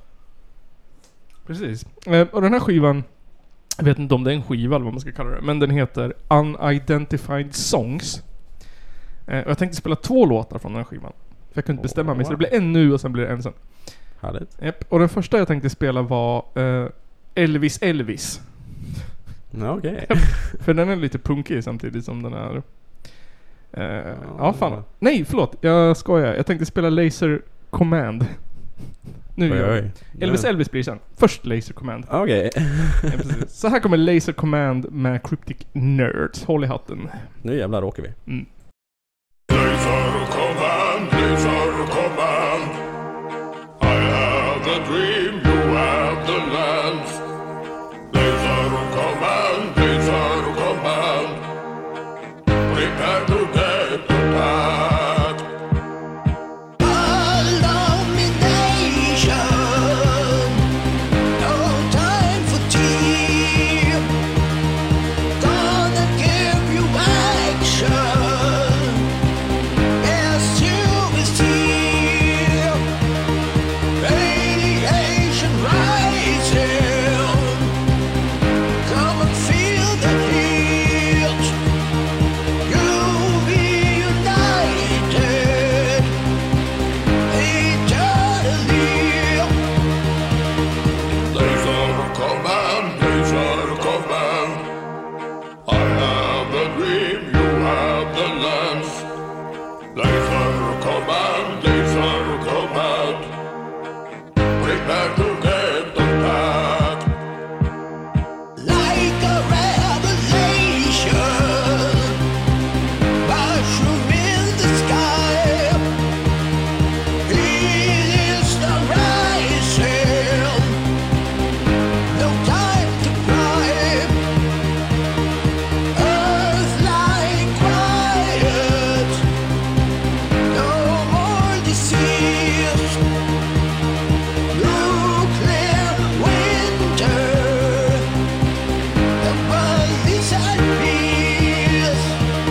Speaker 1: Precis. Eh, Och den här skivan, jag vet inte om det är en skiva eller vad man ska kalla det, men den heter Unidentified Songs. Eh, Och jag tänkte spela två låtar från den här skivan. För jag kunde inte bestämma mig, så det blev en nu och sen blir det en sen.
Speaker 2: Härligt.
Speaker 1: Japp. Och den första jag tänkte spela var eh, Elvis Elvis.
Speaker 2: Ja, okej.
Speaker 1: För den är lite punkig samtidigt som den är... Eh, ja,
Speaker 2: Ja,
Speaker 1: fan.
Speaker 2: det-
Speaker 1: Nej, förlåt. Jag skojar. Jag tänkte spela Laser Command. Nu
Speaker 2: Oj,
Speaker 1: gör jag.
Speaker 2: oj.
Speaker 1: Elvis
Speaker 2: Ja.
Speaker 1: Elvis blir sen. Först Laser Command.
Speaker 2: Okej.
Speaker 1: Ja, precis. Så här kommer Laser Command med Cryptic Nerds. Håll i hatten.
Speaker 2: Nu jävlar åker vi.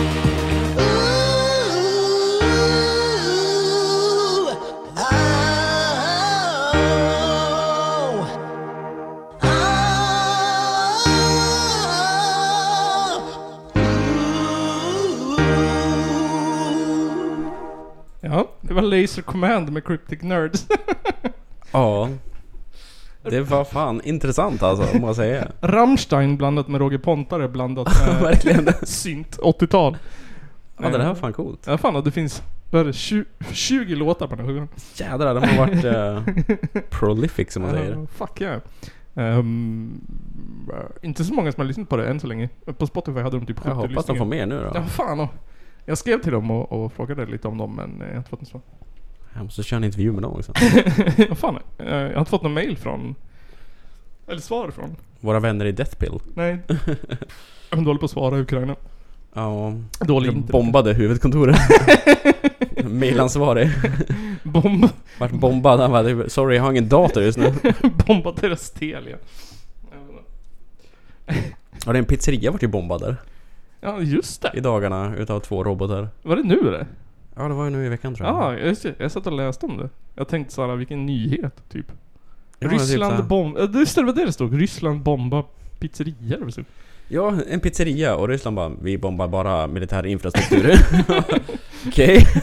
Speaker 3: ah, ah,
Speaker 1: Ja, det var Laser Command med Cryptic Nerds.
Speaker 2: Ja. Det var fan intressant alltså, må jag säga.
Speaker 1: Rammstein blandat med Roger Pontare blandat med
Speaker 2: Verkligen.
Speaker 1: synt 80-tal.
Speaker 2: Ja, det här var fan coolt.
Speaker 1: Ja, fan och det finns, vad är det, 20, 20 låtar på den här skivan.
Speaker 2: Jädrar, de har varit eh, prolific som man säger.
Speaker 1: Ja, Eh, fuck yeah. Ehm, inte så många som har lyssnat på det än så länge. På Spotify hade de typ 70
Speaker 2: Jag hoppas de får
Speaker 1: lyssningar.
Speaker 2: mer nu då.
Speaker 1: Ja, fan och, Jag skrev till dem och, och frågade lite om dem men eh, jag har inte fått något svar.
Speaker 2: Jag måste köra en intervju med dem också.
Speaker 1: Ja, fan, eh, jag har inte fått någon mail från... Eller svar från.
Speaker 2: Våra vänner i Deathpill.
Speaker 1: Nej. Jag är dålig på att svara i Ukraina.
Speaker 2: Ja,
Speaker 1: Dålig
Speaker 2: de
Speaker 1: internet.
Speaker 2: bombade huvudkontoret. Mailansvarig.
Speaker 1: Bomb,
Speaker 2: Vart bombad. Han bara typ, “Sorry, jag har ingen dator just nu”.
Speaker 1: bombat deras Telia. Jag vet inte.
Speaker 2: Ja, det är en pizzeria vart ju bombad där.
Speaker 1: Ja, just det.
Speaker 2: I dagarna utav två robotar.
Speaker 1: Var det nu det?
Speaker 2: Ja, det var ju nu i veckan tror
Speaker 1: Ja,
Speaker 2: jag.
Speaker 1: ah, just det. Jag satt och läste om det. Jag tänkte såhär, vilken nyhet, typ.
Speaker 2: Ja,
Speaker 1: Ryssland
Speaker 2: typ så här.
Speaker 1: bomb... Ja, Just det, det var det det stod. Ryssland bomba pizzerior. eller vad det stod.
Speaker 2: Ja, en pizzeria och Ryssland bara “Vi bombar bara militär infrastruktur”. Okej.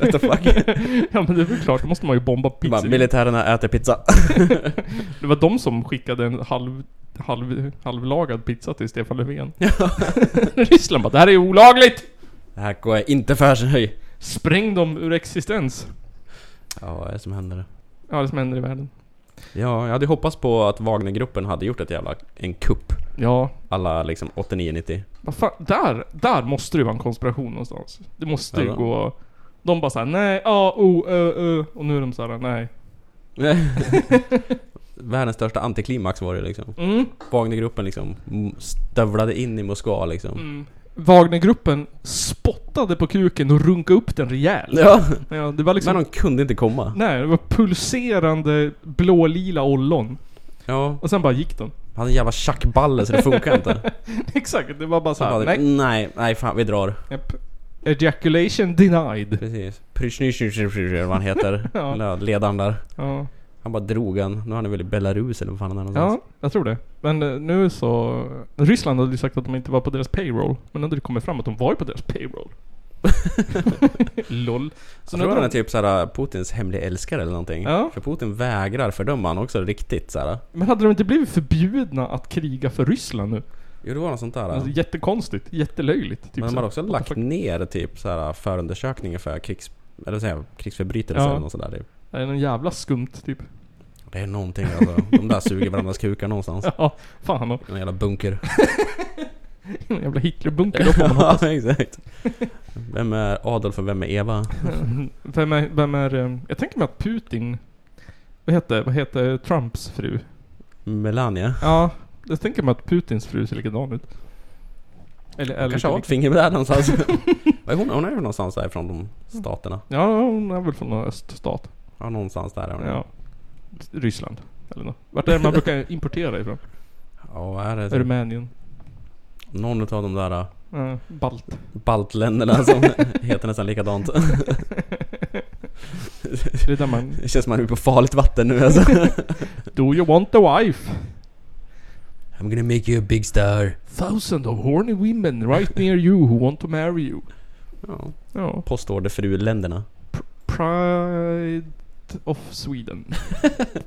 Speaker 2: What the fuck?
Speaker 1: ja men det är väl klart, då måste man ju bomba
Speaker 2: Bara,
Speaker 1: pizzerior.
Speaker 2: militärerna äter pizza.
Speaker 1: Det var de som skickade en halv, halv, halvlagad pizza till Stefan Löfven. Ryssland bara, det här är olagligt!
Speaker 2: Det här går jag inte för sig.
Speaker 1: Spräng dem ur existens.
Speaker 2: Ja, vad är det som händer?
Speaker 1: Ja, det som händer i världen.
Speaker 2: Ja, jag hade hoppats på att Wagnergruppen hade gjort ett jävla... En kupp.
Speaker 1: Ja,
Speaker 2: Alla liksom 89-90.
Speaker 1: vad fan, där, där måste det ju vara en konspiration någonstans. Det måste ju
Speaker 2: Ja.
Speaker 1: gå... De bara såhär, nej, ja, o, ö, ö. Och nu är de såhär, nej.
Speaker 2: Världens största antiklimax var det liksom.
Speaker 1: Mm.
Speaker 2: Wagnergruppen liksom m- stövlade in i Moskva liksom.
Speaker 1: Mm. Wagnergruppen spottade på kuken och runkade upp den rejält.
Speaker 2: Ja,
Speaker 1: Ja, det var liksom...
Speaker 2: men de kunde inte komma.
Speaker 1: Nej, det var pulserande blålila ollon.
Speaker 2: Ja,
Speaker 1: Och sen bara gick de.
Speaker 2: han hade en jävla tjackballe så det funkar inte.
Speaker 1: Exakt, det var bara
Speaker 2: Så
Speaker 1: såhär,
Speaker 2: bara,
Speaker 1: nej.
Speaker 2: nej, nej fan vi drar.
Speaker 1: Japp. Ejaculation denied.
Speaker 2: Precis. Prysjnyjnyjnyjnyj eller vad han heter.
Speaker 1: Ja.
Speaker 2: Den där Ledaren där.
Speaker 1: Ja.
Speaker 2: Han bara drog en. Nu är han väl i Belarus eller vad fan han är någonstans.
Speaker 1: ja, jag tror det. Men eh, nu så... Ryssland hade ju sagt att de inte var på deras payroll. Men nu hade det kommit fram att de var ju på deras payroll. LOL.
Speaker 2: Så
Speaker 1: Så nu
Speaker 2: jag tror
Speaker 1: har
Speaker 2: han är
Speaker 1: de,
Speaker 2: typ såhär Putins hemliga älskare eller någonting.
Speaker 1: Ja.
Speaker 2: För Putin vägrar fördöma han också riktigt såhär.
Speaker 1: men hade de inte blivit förbjudna att kriga för Ryssland nu?
Speaker 2: Jo det var något sånt där.
Speaker 1: Alltså, jättekonstigt, jättelöjligt. Typ
Speaker 2: Men de
Speaker 1: så
Speaker 2: har
Speaker 1: här,
Speaker 2: också
Speaker 1: what the
Speaker 2: lagt
Speaker 1: fuck?
Speaker 2: ner typ såhär förundersökningar för krigs... Eller vad säger jag? Krigsförbrytelser
Speaker 1: Ja.
Speaker 2: eller något sånt där typ.
Speaker 1: Det är någon jävla skumt typ.
Speaker 2: Det är någonting alltså. De där suger varandras kukar någonstans.
Speaker 1: Ja, fan och
Speaker 2: I någon jävla bunker.
Speaker 1: någon jävla Hitlerbunker då får man hoppas.
Speaker 2: exakt. Vem är Adolf och vem är Eva?
Speaker 1: Vem är, vem är... eh, Jag tänker mig att Putin... Vad heter, vad heter Trumps fru?
Speaker 2: Melania?
Speaker 1: Ja, jag tänker mig att Putins fru ser likadan ut. Eller, eller
Speaker 2: Kanske har ett
Speaker 1: inte
Speaker 2: finger med där någonstans. Var är hon? Hon är ju någonstans där från de staterna.
Speaker 1: riktigt. Ja, hon är väl från någon öststat.
Speaker 2: Ja, någonstans där är hon.
Speaker 1: Ja. Ryssland. Eller något. Vart är det man brukar importera ifrån?
Speaker 2: Ja, är det
Speaker 1: Rumänien.
Speaker 2: någon utav de där äh,
Speaker 1: Ja, Balt.
Speaker 2: baltländerna som heter nästan likadant?
Speaker 1: Det är där man...
Speaker 2: Det känns som att man är på farligt vatten nu alltså.
Speaker 1: Do you want the wife?
Speaker 2: I'm gonna make you a big star.
Speaker 1: Thousand of horny women right near you who want to marry you.
Speaker 2: Ja.
Speaker 1: Ja.
Speaker 2: Postorderfru-länderna.
Speaker 1: Pride of Sweden.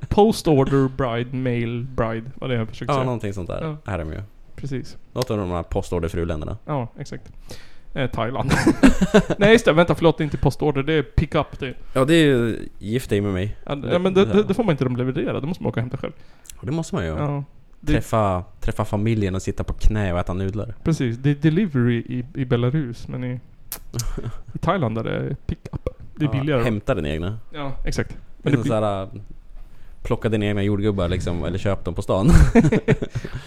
Speaker 1: Post order bride, mail bride. Vad det är jag försökte
Speaker 2: Ja,
Speaker 1: säga.
Speaker 2: någonting sånt där.
Speaker 1: Ja.
Speaker 2: Här är de ju.
Speaker 1: Precis.
Speaker 2: Något av de här postorderfru-länderna.
Speaker 1: Ja, exakt. Eh, Thailand. Nej just det, vänta förlåt det är inte postorder, det är pick-up det.
Speaker 2: Ja, det är ju Gift dig med mig.
Speaker 1: Ja, det- ja, men det, det, det får man inte de leverera, det måste man åka och hämta själv.
Speaker 2: Och Det måste man ju.
Speaker 1: Ja. Det-
Speaker 2: Träffa, träffa familjen och sitta på knä och äta nudlar.
Speaker 1: Precis, det är delivery i, i Belarus men i, i Thailand där det är pick-up. Det är billigare.
Speaker 2: Ja, hämta din egna.
Speaker 1: Ja, exakt.
Speaker 2: Men
Speaker 1: Men det
Speaker 2: det
Speaker 1: blir, Mm.
Speaker 2: såhär, äh, plocka dina egna jordgubbar liksom, eller köp dem på stan.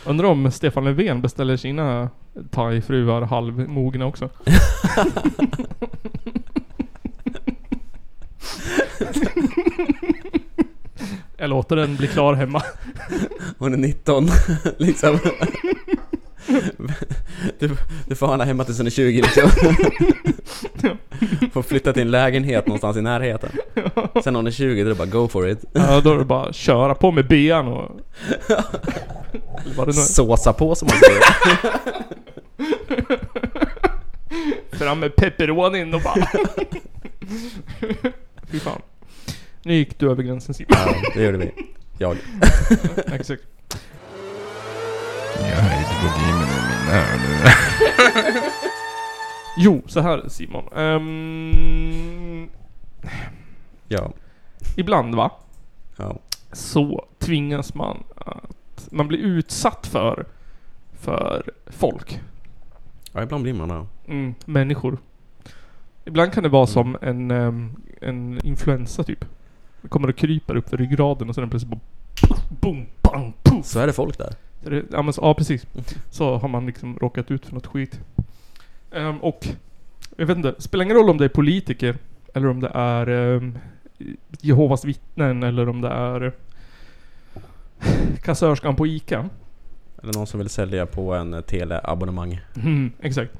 Speaker 1: undrar om Stefan Löfven beställer sina thai-fruar halvmogna också. Jag låter den bli klar hemma.
Speaker 2: Hon är 19, liksom. Du, du får ha henne hemma tills hon är 20 liksom. Får flytta till en lägenhet någonstans i närheten. Sen när hon är 20, då är det bara go for it.
Speaker 1: Ja, då är det bara att köra på med bean och... Eller var det något?
Speaker 2: Såsa på som man säger.
Speaker 1: Fram med pepperonin och bara... Fy fan. Nu gick du över gränsen Simon.
Speaker 2: Ja, det gjorde vi. Jag.
Speaker 1: Exakt.
Speaker 9: Jag har inte gått i mig mina öron.
Speaker 1: Jo, så här Simon. Ehm,
Speaker 2: Ja.
Speaker 1: ibland va?
Speaker 2: ja.
Speaker 1: Så tvingas man att... Man blir utsatt för... För folk.
Speaker 2: Ja, ibland blir man det.
Speaker 1: Mm, människor. Ibland kan det vara som en, ehm, en influensa typ. Det kommer och kryper upp för ryggraden och sen plötsligt bara... Boom, bang, poof.
Speaker 2: Så är det folk där.
Speaker 1: Så det- Ja, men, så- ja precis. Så har man liksom råkat ut för något skit. Ehm, och jag vet inte, spelar ingen roll om det är politiker eller om det är ehm, Jehovas vittnen eller om det är kassörskan på ICA.
Speaker 2: Eller någon som vill sälja på en eh, teleabonnemang.
Speaker 1: Mm, exakt.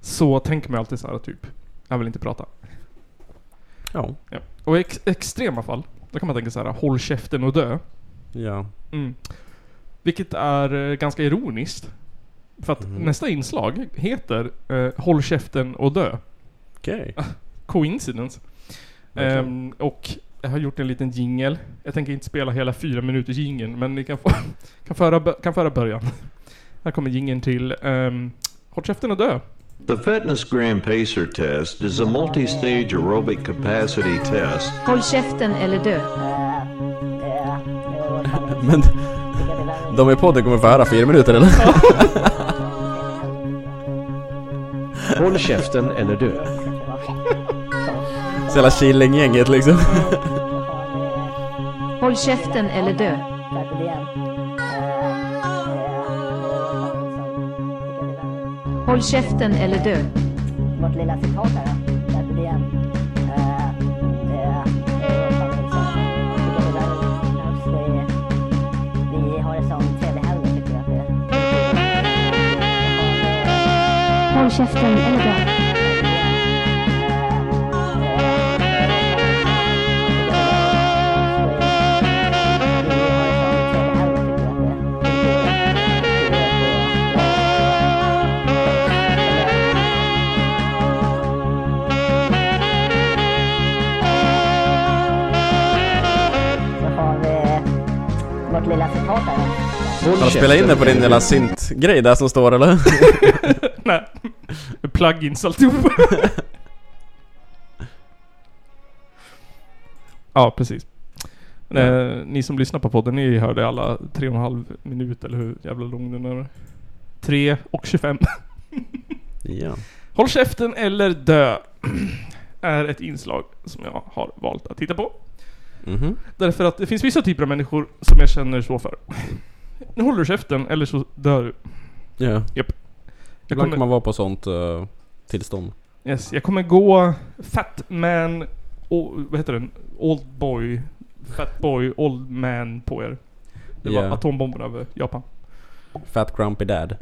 Speaker 1: Så tänker man alltid så här typ, jag vill inte prata.
Speaker 2: Ja.
Speaker 1: Ja. Och i ex- extrema fall, då kan man tänka så här, håll käften och dö.
Speaker 2: Ja.
Speaker 1: Mm. Vilket är eh, ganska ironiskt. För att nästa inslag heter eh, Håll käften och dö.
Speaker 2: Okej.
Speaker 1: Coincidence.
Speaker 2: Verkligen.
Speaker 1: Ehm, och jag har gjort en liten jingel. Jag tänker inte spela hela fyra minuters jingeln, men ni kan, få, kan, föra, bö- kan föra början. Här kommer jingeln till ehm, Håll käften och dö.
Speaker 10: The Fitness Grand Pacer test is a multi stage aerobic capacity test
Speaker 7: Håll käften eller dö.
Speaker 2: Men de i podden kommer få höra fyra minuter eller?
Speaker 8: Håll käften eller dö.
Speaker 2: Så jävla Killinggänget liksom.
Speaker 7: Håll käften eller dö. Håll käften eller dö.
Speaker 11: Vårt lilla citat här då. Där blir en. Eh, eh, eh, vad fan ska jag säga? Vilka vi där- kanske vi- vi
Speaker 12: Håll käften eller dö.
Speaker 11: Så har vi vårt lilla citat här.
Speaker 2: Har du spelat in det på din lilla synt-grej där som står eller?
Speaker 1: Nej. Med plugins alltihop. ja, precis. Men, eh, ni som lyssnar på podden, ni hörde alla tre och en halv minut eller hur jävla lång den är. Tre och 25.
Speaker 2: ja.
Speaker 1: Håll käften eller dö. Är ett inslag som jag har valt att titta på.
Speaker 2: Mhm.
Speaker 1: Därför att det finns vissa typer av människor som jag känner så för. Nu håller du käften eller så dör du.
Speaker 2: Ja.
Speaker 1: Japp. Jag
Speaker 2: Ibland
Speaker 1: kommer,
Speaker 2: kan man vara på sånt eh, tillstånd.
Speaker 1: yes, jag kommer gå fat man, och, vad heter den? Old boy, fat boy, old man på er. Det var
Speaker 2: Ja.
Speaker 1: atombomberna över Japan.
Speaker 2: Fat Grumpy Dad.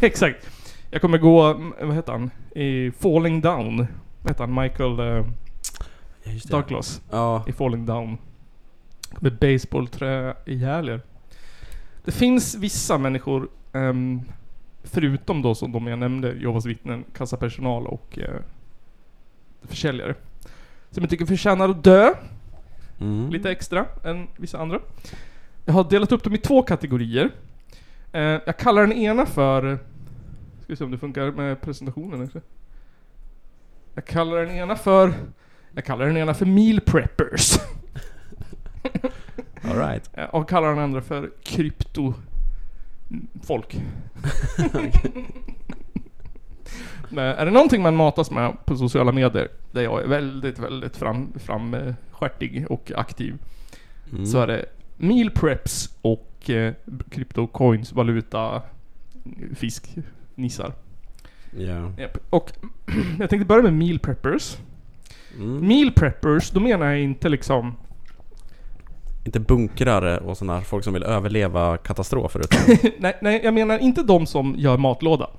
Speaker 1: Exakt. Jag kommer gå, mm, vad heter han? I Falling Down. Vad heter han? Michael eh,
Speaker 2: just det.
Speaker 1: Douglas.
Speaker 2: Ja.
Speaker 1: I Falling Down. Med baseballträ ihjäl er. Det finns vissa människor, ehm, förutom då som de jag nämnde, Jehovas vittnen, kassapersonal och eh, försäljare. Som jag tycker förtjänar att dö.
Speaker 2: Mm.
Speaker 1: Lite extra än vissa andra. Jag har delat upp dem i två kategorier. Eh, jag kallar den ena för... Ska vi se om det funkar med presentationen också. Jag kallar den ena för... Jag kallar den ena för meal preppers.
Speaker 2: All right.
Speaker 1: Eh, och kallar den andra för krypto... Folk. Men är det någonting man matas med på sociala medier, där jag är väldigt, väldigt fram, framskärtig och aktiv,
Speaker 2: Mm.
Speaker 1: så är det meal preps och eh, kryptocoins, valuta, fisknissar.
Speaker 2: Mm. Ja.
Speaker 1: Japp. Och jag tänkte börja med meal preppers.
Speaker 2: Mm.
Speaker 1: Meal preppers, då menar jag inte liksom...
Speaker 2: Inte bunkrare och sådana här folk som vill överleva katastrofer utan...
Speaker 1: nej, nej, jag menar inte de som gör matlåda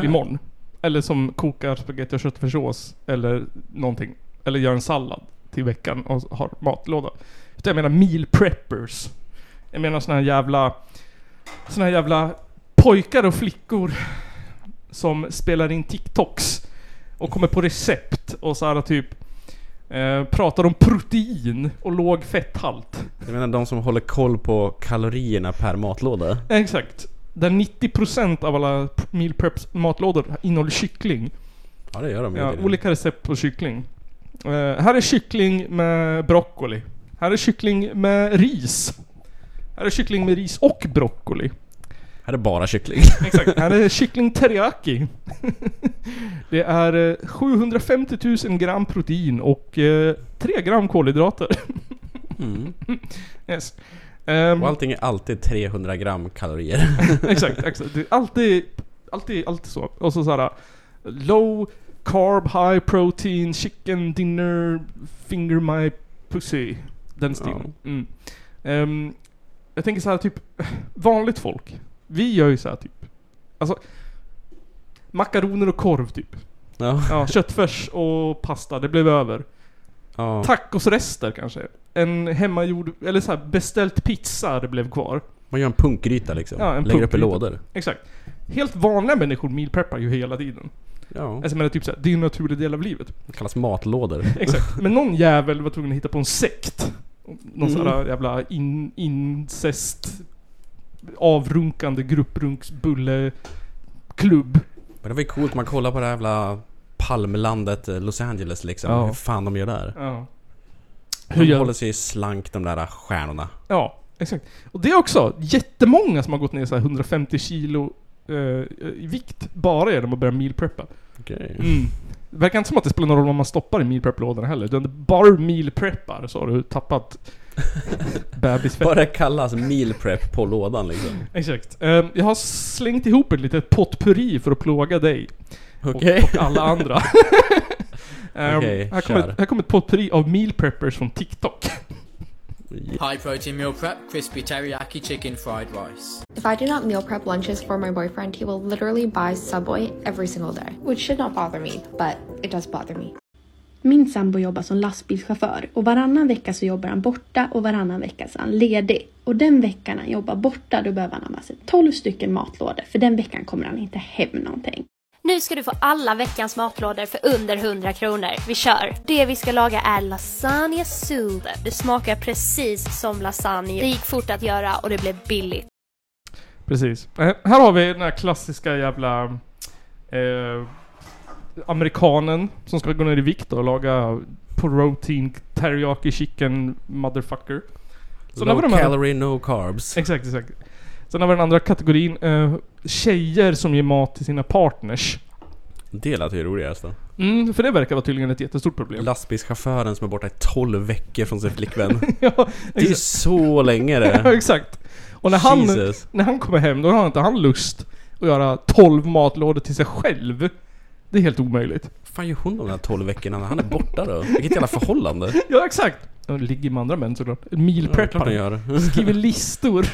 Speaker 1: till imorgon. Eller som kokar spagetti och köttfärssås eller någonting. Eller gör en sallad till veckan och har matlåda. Utan jag menar meal preppers. Jag menar såna här jävla... Såna här jävla pojkar och flickor som spelar in TikToks och kommer på recept och så här typ eh, pratar om protein och låg fetthalt.
Speaker 2: Jag menar de som håller koll på kalorierna per matlåda.
Speaker 1: Exakt. Där 90% av alla p- meal preps matlådor innehåller kyckling.
Speaker 2: Ja det gör de
Speaker 1: Ja,
Speaker 2: ju.
Speaker 1: olika recept på kyckling. Eh, här är kyckling med broccoli. Här är kyckling med ris. Här är kyckling med ris och broccoli.
Speaker 2: Här är bara kyckling.
Speaker 1: Exakt. Här är kyckling teriyaki. Det är eh, 750 000 gram protein och eh, 3 gram kolhydrater.
Speaker 2: Mm.
Speaker 1: Yes. Ehm,
Speaker 2: Och allting är alltid 300 gram kalorier.
Speaker 1: exakt, exakt. Det är alltid, alltid, alltid så. Och så såhär Low carb, high protein, chicken dinner, finger my pussy. Den stilen. Mm. Ehm, jag tänker så här typ, vanligt folk. Vi gör ju så här typ, alltså makaroner och korv typ.
Speaker 2: Ja.
Speaker 1: Ja, köttfärs och pasta, det blev över.
Speaker 2: Ja.
Speaker 1: Tacosrester kanske. En hemmagjord, eller så här beställt pizza det blev kvar.
Speaker 2: Man gör en punkgryta liksom.
Speaker 1: Ja, en
Speaker 2: Lägger upp i
Speaker 1: punkgryta.
Speaker 2: lådor.
Speaker 1: Exakt. Helt vanliga människor mealpreppar ju hela tiden.
Speaker 2: Ja.
Speaker 1: Alltså jag menar typ såhär, det är ju en naturlig del av livet.
Speaker 2: Det kallas matlådor.
Speaker 1: Exakt. Men någon jävel var tvungen att hitta på en sekt. Någon sån här
Speaker 2: Mm.
Speaker 1: jävla in, incest... Avrunkande grupprunksbulle... Klubb.
Speaker 2: Men det var ju coolt, man kollar på det här jävla palmlandet eh, Los Angeles liksom.
Speaker 1: Ja.
Speaker 2: Hur fan de gör där.
Speaker 1: Ja.
Speaker 2: De
Speaker 1: Hur gör-
Speaker 2: håller sig slank de där stjärnorna.
Speaker 1: Ja, exakt. Och det är också jättemånga som har gått ner så här 150 kilo eh, i vikt bara genom att börja mealpreppa.
Speaker 2: Okej.
Speaker 1: Mm. Det verkar inte som att det spelar någon roll vad man stoppar i mealprep-lådorna heller. Utan det är bara du mealpreppar så har du tappat bebisfett.
Speaker 2: Vad det kallas meal prep på lådan liksom.
Speaker 1: Exakt. Ehm, jag har slängt ihop ett litet potpurri för att plåga dig.
Speaker 2: Okej.
Speaker 1: Och, och alla andra. Ehm,
Speaker 2: Okej,
Speaker 1: här kommer
Speaker 2: kör.
Speaker 1: ett, här kommer ett potpurri av mealpreppers från TikTok.
Speaker 12: High protein meal prep, crispy teriyaki chicken fried rice.
Speaker 13: If I do not meal prep lunches for my boyfriend, he will literally buy Subway every single day, which should not bother me, but it does bother me.
Speaker 14: Min sambo jobbar som lastbilschaufför och varannan vecka så jobbar han borta och varannan vecka så är han ledig. Och den veckan han jobbar borta då behöver han ha med sig 12 stycken matlådor för den veckan kommer han inte hem någonting.
Speaker 15: Nu ska du få alla veckans matlådor för under 100 kronor. Vi kör! Det vi ska laga är lasagne soup. Det smakar precis som lasagne. Det gick fort att göra och det blev billigt.
Speaker 1: Precis. Eh, här har vi den här klassiska jävla... Eh, amerikanen som ska gå ner i vikt och laga protein teriyaki chicken motherfucker.
Speaker 2: Sen Low calorie, no carbs.
Speaker 1: Exakt, exakt. Sen har vi den andra kategorin. Eh, tjejer som ger mat till sina partners.
Speaker 2: Det lät ju roligast då.
Speaker 1: Mm, för det verkar vara tydligen ett jättestort problem.
Speaker 2: Lastbilschauffören som är borta i 12 veckor från sin flickvän. ja, det är ju så länge det.
Speaker 1: ja, exakt. Och när han,
Speaker 2: Jesus.
Speaker 1: när han kommer hem, då har inte han lust att göra 12 matlådor till sig själv. Det är helt omöjligt.
Speaker 2: fan gör hon de där 12 veckorna när han är borta då? Vilket jävla förhållande.
Speaker 1: Ja, exakt. De ligger med andra män såklart.
Speaker 2: Ja, det är klart
Speaker 1: Mealpreppar.
Speaker 2: de gör.
Speaker 1: Skriver listor.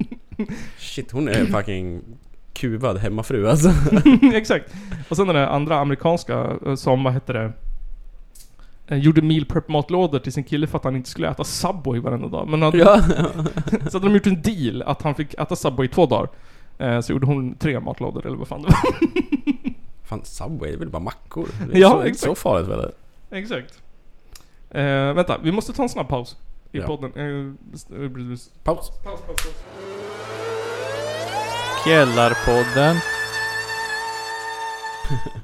Speaker 2: Shit, hon är fucking kuvad hemmafru alltså.
Speaker 1: Exakt. Och sen den där andra amerikanska eh, som, vad hette det? eh, Gjorde meal prep matlådor till sin kille för att han inte skulle äta Subway varenda dag. Men hade,
Speaker 2: Ja.
Speaker 1: så hade de gjort en deal att han fick äta Subway i två dagar. Eh, Så gjorde hon tre matlådor eller vad fan det var.
Speaker 2: Fan, Subway, det är väl bara mackor? Det är
Speaker 1: Ja,
Speaker 2: så,
Speaker 1: exakt.
Speaker 2: så farligt väl?
Speaker 1: Exakt. Eh, vänta, vi måste ta en snabb paus i
Speaker 2: Ja.
Speaker 1: podden. Eh, s- eh, paus.
Speaker 2: Paus,
Speaker 1: paus, paus.
Speaker 16: Källarpodden.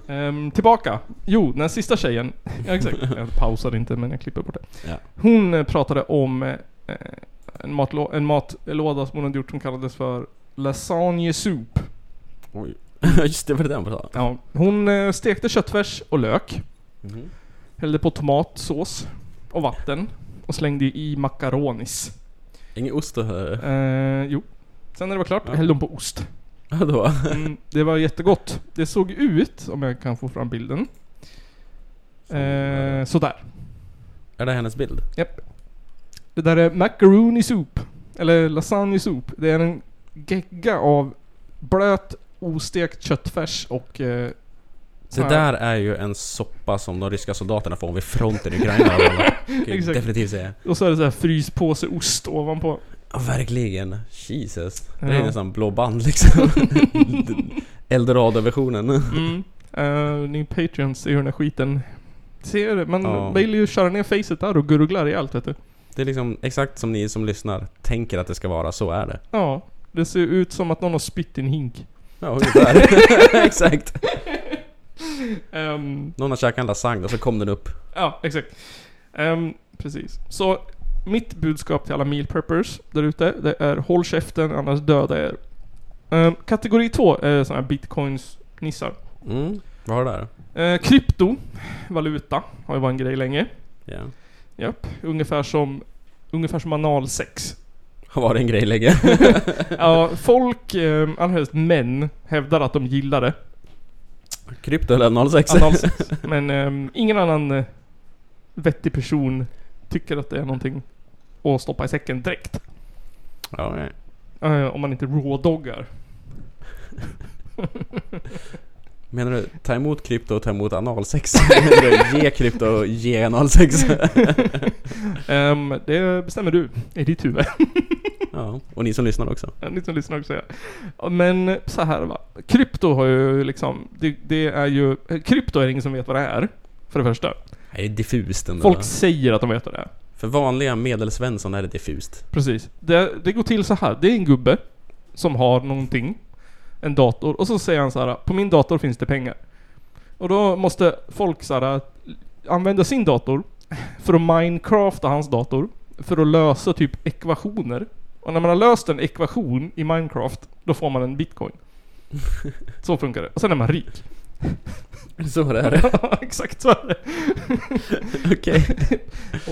Speaker 1: Ehm, tillbaka. Jo, den sista tjejen. Ja, exakt. Jag pausar inte men jag klipper bort det.
Speaker 2: Ja.
Speaker 1: Hon eh, pratade om eh, en, matlå- en matlåda som hon hade gjort som kallades för Lasagne Soup.
Speaker 2: Oj. Just det, var det den sa?
Speaker 1: Ja, hon eh, stekte köttfärs och lök. Mm-hmm.
Speaker 2: Mhm.
Speaker 1: Hällde på tomatsås och vatten. Och slängde i makaronis.
Speaker 2: Ingen ost och här.
Speaker 1: Eh, jo. Sen när det var klart
Speaker 2: Ja.
Speaker 1: hällde hon på ost.
Speaker 2: Ja, då.
Speaker 1: Mm, det var jättegott. Det såg ut, om jag kan få fram bilden. Eh, sådär.
Speaker 2: Är det hennes bild?
Speaker 1: Japp. Det där är macaroni soup. Eller lasagne soup. Det är en gegga av blöt, ostekt köttfärs och... Eh,
Speaker 2: Det
Speaker 1: sån här-
Speaker 2: där är ju en soppa som de ryska soldaterna får vid fronten i Ukraina. Kan ju
Speaker 1: Exakt.
Speaker 2: Definitivt säga.
Speaker 1: Och så är det så här fryspåse ost ovanpå.
Speaker 2: Ja, verkligen. Jesus. Det är
Speaker 1: Ja.
Speaker 2: nästan blå band liksom. Eldorado-versionen.
Speaker 1: Mm. Eh, ni Patreons ser ju den här skiten. Ser det, man
Speaker 2: Ja.
Speaker 1: vill ju köra ner facet där och gurglar i allt vet du.
Speaker 2: Det är liksom exakt som ni som lyssnar tänker att det ska vara, så är det.
Speaker 1: Ja. Det ser ut som att någon har spytt i en hink.
Speaker 2: Ja, ungefär. Exakt.
Speaker 1: Ehm,
Speaker 2: Någon har käkat en lasagne och så kom den upp.
Speaker 1: Ja, exakt. Ehm, precis. Så mitt budskap till alla meal preppers där ute, det är håll käften annars döda er. Ehm, kategori två är sådana här bitcoins-nissar.
Speaker 2: Mm. Vad har du där?
Speaker 1: Eh, krypto, valuta, har ju varit en grej länge.
Speaker 2: Ja.
Speaker 1: Japp, ungefär som, ungefär som analsex.
Speaker 2: Har varit en grej länge.
Speaker 1: ja, folk, eh, allra helst män, hävdar att de gillar det.
Speaker 2: Krypto eller 06?
Speaker 1: Analsex. Men ehm, ingen annan eh, vettig person tycker att det är någonting att stoppa i säcken direkt.
Speaker 2: Ja, nej.
Speaker 1: Eh, om man inte rådoggar.
Speaker 2: Menar du ta emot krypto och ta emot analsex? Menar du ge krypto och ge analsex?
Speaker 1: Ehm, det bestämmer du i ditt huvud.
Speaker 2: ja, och ni som lyssnar också.
Speaker 1: Ni som lyssnar också ja. Men så här va. Krypto har ju liksom, det, det är ju, eh, krypto är det ingen som vet vad det är. För det första.
Speaker 2: Det är diffust ändå.
Speaker 1: Folk säger att de vet vad det är.
Speaker 2: För vanliga medelsvensson är det diffust.
Speaker 1: Precis. Det, det går till så här. Det är en gubbe som har någonting. En dator. Och så säger han så här. På min dator finns det pengar. Och då måste folk så här, använda sin dator för att Minecrafta hans dator. För att lösa typ ekvationer. Och när man har löst en ekvation i Minecraft, då får man en bitcoin. Så funkar det. Och sen är man rik.
Speaker 2: Så det är.
Speaker 1: Ja, exakt så är det.
Speaker 2: Okej.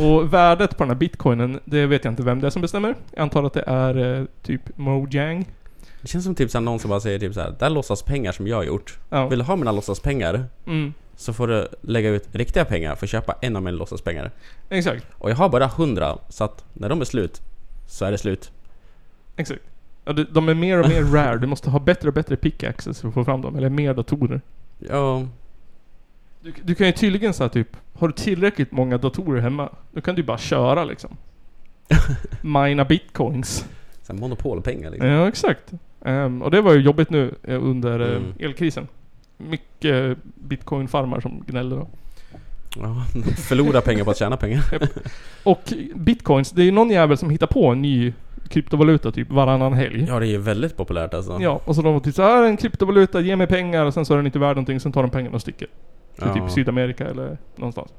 Speaker 1: Och värdet på den här bitcoinen, det vet jag inte vem det är som bestämmer. Jag antar att det är eh, typ Mojang.
Speaker 2: Det känns som typ såhär, någon som bara säger typ såhär, där låtsas pengar som jag har gjort.
Speaker 1: Ja.
Speaker 2: Vill du ha mina låtsaspengar?
Speaker 1: Mm.
Speaker 2: så får du lägga ut riktiga pengar för att köpa en av mina låtsaspengar.
Speaker 1: Exakt.
Speaker 2: Och jag har bara 100, så att när de är slut så är det slut.
Speaker 1: Exakt. Ja, du- de är mer och mer rare. Du måste ha bättre och bättre pickaxes för att få fram dem. Eller mer datorer.
Speaker 2: Ja.
Speaker 1: Du, du kan ju tydligen säga typ, har du tillräckligt många datorer hemma, då kan du bara köra liksom. Mina bitcoins.
Speaker 2: Så här monopolpengar liksom.
Speaker 1: Ja, exakt. Ehm, och det var ju jobbigt nu eh, under eh,
Speaker 2: Mm.
Speaker 1: elkrisen. Mycket eh, bitcoinfarmar som gnällde då.
Speaker 2: Ja, förlora pengar på att tjäna pengar.
Speaker 1: Japp. Och bitcoins, det är ju någon jävel som hittar på en ny kryptovaluta typ varannan helg.
Speaker 2: Ja, det är ju väldigt populärt alltså.
Speaker 1: Ja, och så de var typ så här en kryptovaluta, ge mig pengar och sen så är den inte värd någonting, sen tar de pengarna och sticker. Till
Speaker 2: Ja.
Speaker 1: typ Sydamerika eller någonstans.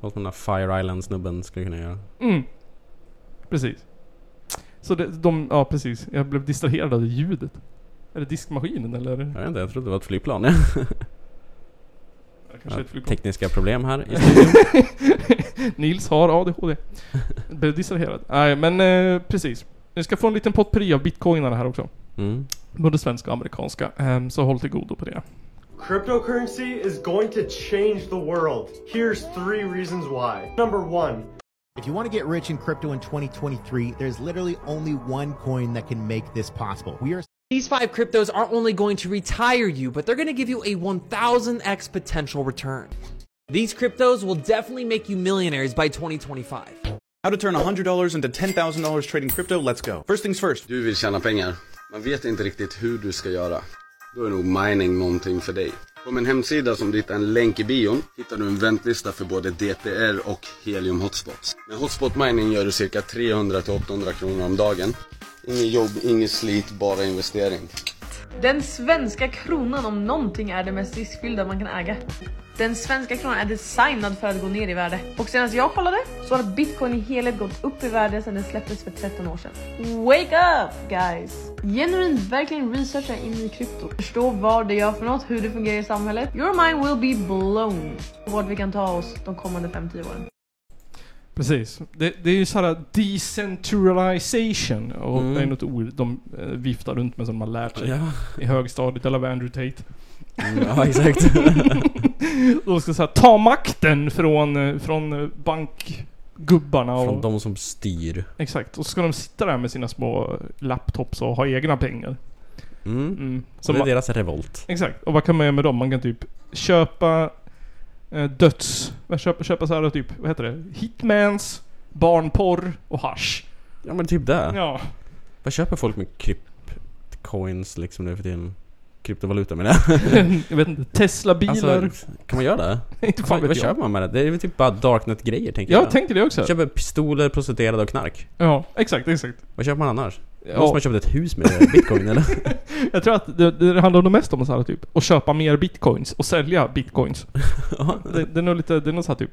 Speaker 2: Något som den där Fire Island-snubben skulle kunna göra.
Speaker 1: Mm. Precis. Så det, de, ja precis. Jag blev distraherad av ljudet. Är det diskmaskinen eller?
Speaker 2: Jag vet inte, jag trodde det var ett flygplan.
Speaker 1: kanske
Speaker 2: Ja,
Speaker 1: ett flygplan.
Speaker 2: Tekniska problem här i studion.
Speaker 1: Nils har ADHD. Blev distraherad. Nej men eh, precis. Ni ska få en liten potpurri av bitcoinarna här också.
Speaker 2: Mm.
Speaker 1: Både svenska och amerikanska. Ehm, så håll till godo på det.
Speaker 17: Cryptocurrency is going to change the world. Here's three reasons why. Number one,
Speaker 18: If you want to get rich in crypto in 2023, there's literally only one coin that can make this possible. We are
Speaker 19: These five cryptos aren't only going to retire you, but they're going to give you a 1000x potential return. These cryptos will definitely make you millionaires by 2025.
Speaker 20: How to turn $100 into $10,000 trading crypto, let's go. First things first.
Speaker 21: Du vill tjäna pengar, men vet inte riktigt hur du ska göra. Då är nog mining någonting för dig. På min hemsida som du hittar en länk i bion hittar du en väntlista för både DTR och Helium Hotspots. Med Hotspot Mining gör du cirka 300-800 kronor om dagen. Inget jobb, inget slit, bara investering.
Speaker 22: Den svenska kronan om någonting är det mest riskfyllda man kan äga. Den svenska kronan är designad för att gå ner i värde. Och senast jag kollade så har bitcoin i helhet gått upp i värde sedan den släpptes för 13 år sedan. Wake up guys! Genuint verkligen researcha in i krypto. Förstå vad det gör för något, hur det fungerar i samhället. Your mind will be blown. Och vart vi kan ta oss de kommande 5-10 åren.
Speaker 1: Precis. Det, det är ju såhär decentralization. Och
Speaker 2: Mm.
Speaker 1: det är något ord de eh, viftar runt med som man lärt sig
Speaker 2: Ja.
Speaker 1: i högstadiet eller av Andrew Tate.
Speaker 2: Mm, ja, exakt.
Speaker 1: de ska säga ta makten från, eh, från eh, bankgubbarna och...
Speaker 2: Från de som styr.
Speaker 1: Exakt. Och så ska de sitta där med sina små laptops och ha egna pengar.
Speaker 2: Mm.
Speaker 1: Mm.
Speaker 2: det är
Speaker 1: man-
Speaker 2: deras revolt.
Speaker 1: Exakt. Och vad kan man göra med dem? Man kan typ köpa eh, döds... vad, Köpa, köpa så här typ, vad heter det? Hitmans, barnporr och hasch.
Speaker 2: Ja men typ det.
Speaker 1: Ja.
Speaker 2: Vad köper folk med kryptcoins liksom nu för tiden? Kryptovaluta menar jag.
Speaker 1: jag vet inte. Tesla-bilar.
Speaker 2: Alltså, kan man göra det?
Speaker 1: Inte fan
Speaker 2: vad
Speaker 1: vet
Speaker 2: vad
Speaker 1: jag.
Speaker 2: köper man med det? Det är väl typ bara Darknet-grejer tänker
Speaker 1: Jag
Speaker 2: jag.
Speaker 1: tänkte det också.
Speaker 2: Köper pistoler, prostituerade och knark.
Speaker 1: Ja, exakt, exakt.
Speaker 2: Vad köper man annars?
Speaker 1: Ja.
Speaker 2: Måste man köpa ett hus med bitcoin eller?
Speaker 1: Jag tror att det, det handlar nog mest om så här typ, att köpa mer bitcoins och sälja bitcoins. det, det är nog lite, det är nog så här typ,